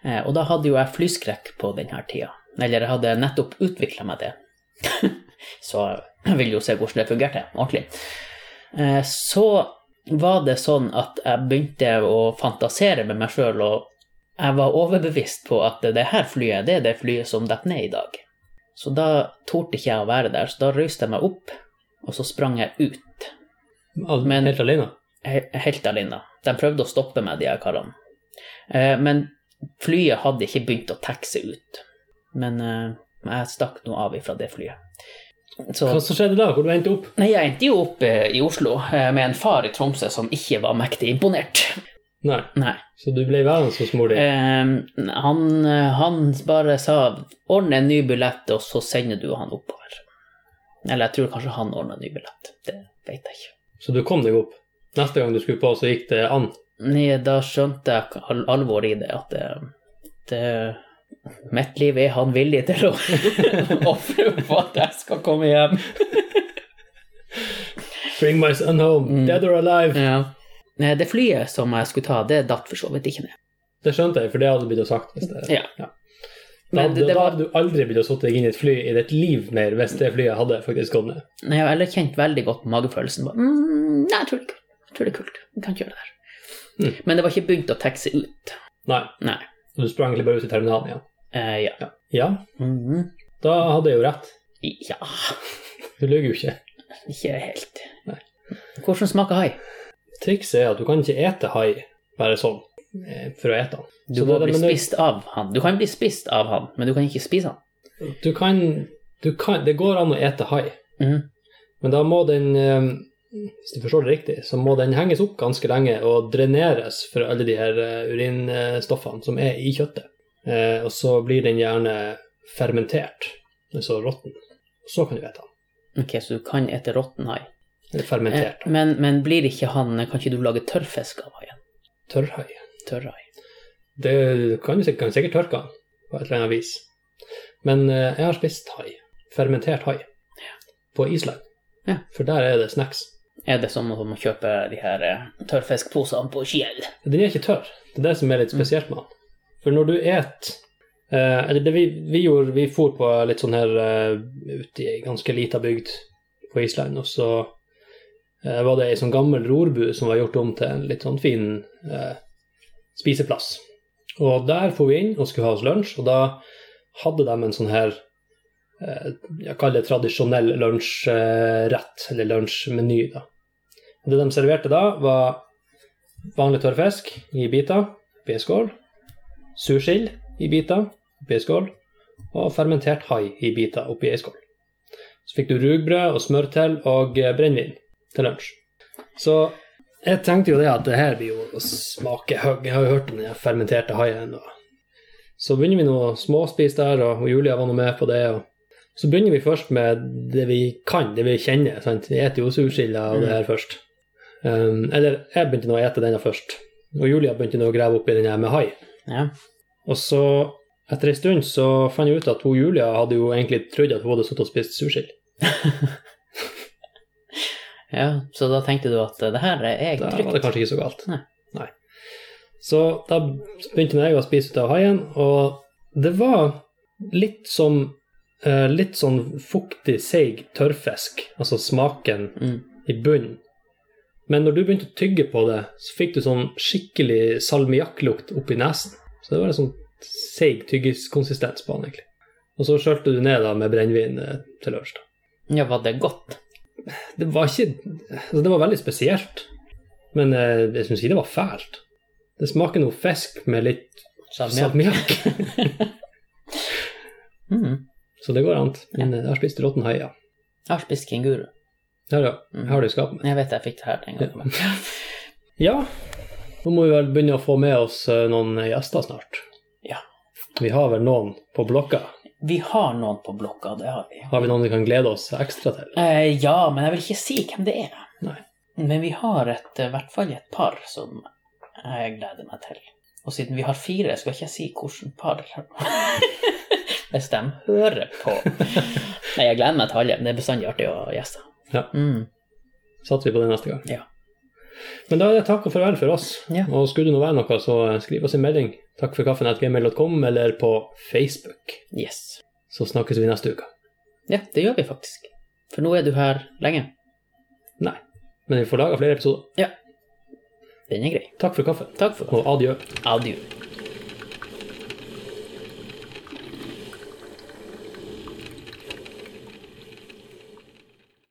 S1: Eh, Og da hadde jo jeg flyskrekk på denne tida. Eller jeg hadde nettopp utvikla meg det. så jeg ville jo se hvordan det fungerte ordentlig. Eh, Så var det sånn at jeg begynte å fantasere med meg sjøl, og jeg var overbevist på at det her flyet, det er det flyet som detter ned i dag. Så da torde ikke jeg å være der, så da røyste jeg meg opp, og så sprang jeg ut.
S2: Al-
S1: Men-
S2: Helt alene?
S1: he- Helt alene. De prøvde å stoppe meg, de her karene. Eh, Men flyet hadde ikke begynt å taxe ut. Men eh, jeg stakk nå av ifra det flyet. Så,
S2: Hva som skjedde da? Hvor du endte opp?
S1: nei, jeg endte jo opp eh, i Oslo eh, med en far i Tromsø som ikke var mektig imponert.
S2: Nei.
S1: Nei.
S2: Så du ble værende hos mor di?
S1: Eh, han, han bare sa 'ordne en ny billett, og så sender du han oppover'. Eller jeg tror kanskje han ordna en ny billett. Det vet jeg ikke.
S2: Så du kom deg opp? Neste gang du skulle på, så gikk det an?
S1: Nei, da skjønte jeg al alvoret i det, at det, det Mitt liv er han villig til å ofre på at jeg skal komme hjem.
S2: Bring my son home,
S1: Mm.
S2: dead or alive.
S1: Ja. Nei, Det flyet som jeg skulle ta, det datt for så vidt ikke ned.
S2: Det skjønte jeg, for det hadde blitt sagt. Hvis det,
S1: Mm. Ja.
S2: Ja. Da,
S1: Men
S2: hadde-
S1: det, det
S2: da
S1: var
S2: hadde du aldri blitt å sitte deg inn i et fly i ditt liv mer hvis det flyet hadde faktisk gått ned.
S1: Nei, Jeg har heller kjent veldig godt på magefølelsen. Bare, mm, nei, jeg tror det er kult. Jeg tror det er kult. Vi kan ikke gjøre det der.
S2: Mm.
S1: Men det var ikke begynt å taxe ut.
S2: Nei,
S1: Nei.
S2: og du sprang egentlig bare ut i terminalen igjen.
S1: Eh, ja.
S2: Ja,
S1: Mhm.
S2: da hadde jeg jo rett.
S1: ja.
S2: Du lyver jo ikke.
S1: Ikke helt.
S2: Nei.
S1: Hvordan smaker hai?
S2: Trikset er at du kan ikke ete hai bare sånn eh, for å ete den.
S1: Du
S2: Så
S1: må
S2: det-
S1: bli
S2: men det-
S1: spist av han. Du kan bli spist av han, men du kan ikke spise han.
S2: Du kan, du kan Det går an å ete hai,
S1: Mhm.
S2: men da må den eh, Hvis du forstår det riktig, så må den henges opp ganske lenge og dreneres for alle de her eh, urinstoffene som er i kjøttet. Eh, Og så blir den gjerne fermentert, altså råtten. Så kan du ete den.
S1: Ok, så du kan ete råtten hai.
S2: Eller
S1: Eh,
S2: fermentert.
S1: men, men blir ikke han Kan ikke du lage tørrfisk av haien?
S2: Tørrhai.
S1: Tørrhai.
S2: Det kan du sikkert, kan sikkert tørke den på et eller annet vis. Men eh, jeg har spist hai. Fermentert hai. På Island.
S1: Ja.
S2: For der er det snacks.
S1: Er det sånn som om å kjøpe de her eh, tørrfiskposene på Kiel?
S2: Den er ikke tørr. Det er det som er litt spesielt med den. For når du et eh, Eller det vi, vi gjorde, vi for på litt sånn her eh, ut i ei ganske lita bygd på Island, og så eh, var det ei sånn gammel rorbu som var gjort om til en litt sånn fin eh, spiseplass. Og der for vi inn og skulle ha oss lunsj, og da hadde de en sånn her eh, Jeg kaller det tradisjonell lunsjrett, eller lunsjmeny, da. Og Det de serverte da, var vanlig tørrfisk i biter, oppi en skål. Sursild i biter, oppi en skål. Og fermentert hai i biter, oppi en skål. Så fikk du rugbrød og smør til, og eh, brennevin til lunsj. Så jeg tenkte jo det at det her blir jo å smake høgg. Jeg har jo hørt om den fermenterte haien. Og så begynner vi nå å småspise der, og og Julia var nå med på det. og så begynner vi først med det vi kan, det vi kjenner. sant? Vi eter jo sursilda og det her først. Um, eller jeg begynte nå å ete denne først, og Julia begynte nå å grave oppi den her med hai.
S1: Ja.
S2: Og så, etter ei stund, så fant jeg ut at hun Julia hadde jo egentlig trodd at hun hadde sittet og spist sursild.
S1: ja. Så da tenkte du at eh, det her er
S2: Da var det
S1: trygt?
S2: kanskje ikke så galt.
S1: Nei.
S2: Nei. Så da begynte jeg å spise ut av haien, og det var litt som eh, litt sånn fuktig, seig tørrfisk, altså smaken
S1: Mm.
S2: i bunnen. Men når du begynte å tygge på det, så fikk du sånn skikkelig salmiakklukt oppi nesen. Så det var en sånn seig tyggiskonsistens på den, egentlig. Og så skjølte du ned da med brennevin eh, til lunsj. da.
S1: Ja, var det godt?
S2: Det var ikke altså Det var veldig spesielt. Men eh, jeg syns ikke det var fælt. Det smaker noe fisk med litt
S1: Salmiakk?
S2: salmiakk.
S1: Mm.
S2: Så det går an. Men eh, jeg har spist råtten hai, ja.
S1: Jeg har spist kenguru.
S2: Her, ja. Jeg har det i skapet.
S1: Jeg vet jeg fikk det her den gangen.
S2: Ja, nå må vi vel begynne å få med oss eh, noen gjester snart.
S1: Ja.
S2: Vi har vel noen på blokka.
S1: Vi har noen på blokka, det har vi.
S2: Har vi noen vi kan glede oss ekstra til?
S1: Eh, ja, men jeg vil ikke si hvem det er.
S2: Nei.
S1: Men vi har et, eh, i hvert fall et par som jeg gleder meg til. Og siden vi har fire, skal ikke jeg si hvilket par Hvis de hører på. Nei, jeg gleder meg til alle. Det er bestandig artig å gjeste.
S2: Ja.
S1: Mm.
S2: Satser vi på det neste gang.
S1: Ja.
S2: Men da er det takk og farvel for oss.
S1: Ja.
S2: Og skulle det nå være noe, så eh, skriv oss en melding. Takk for kaffen at gmail.com eller på Facebook.
S1: Yes.
S2: Så snakkes vi neste uke.
S1: Ja, det gjør vi faktisk. For nå er du her lenge.
S2: Nei, men vi får laga flere episoder.
S1: Den er grei.
S2: Takk for kaffen,
S1: Takk for kaffen.
S2: og adjø.
S1: Adjø.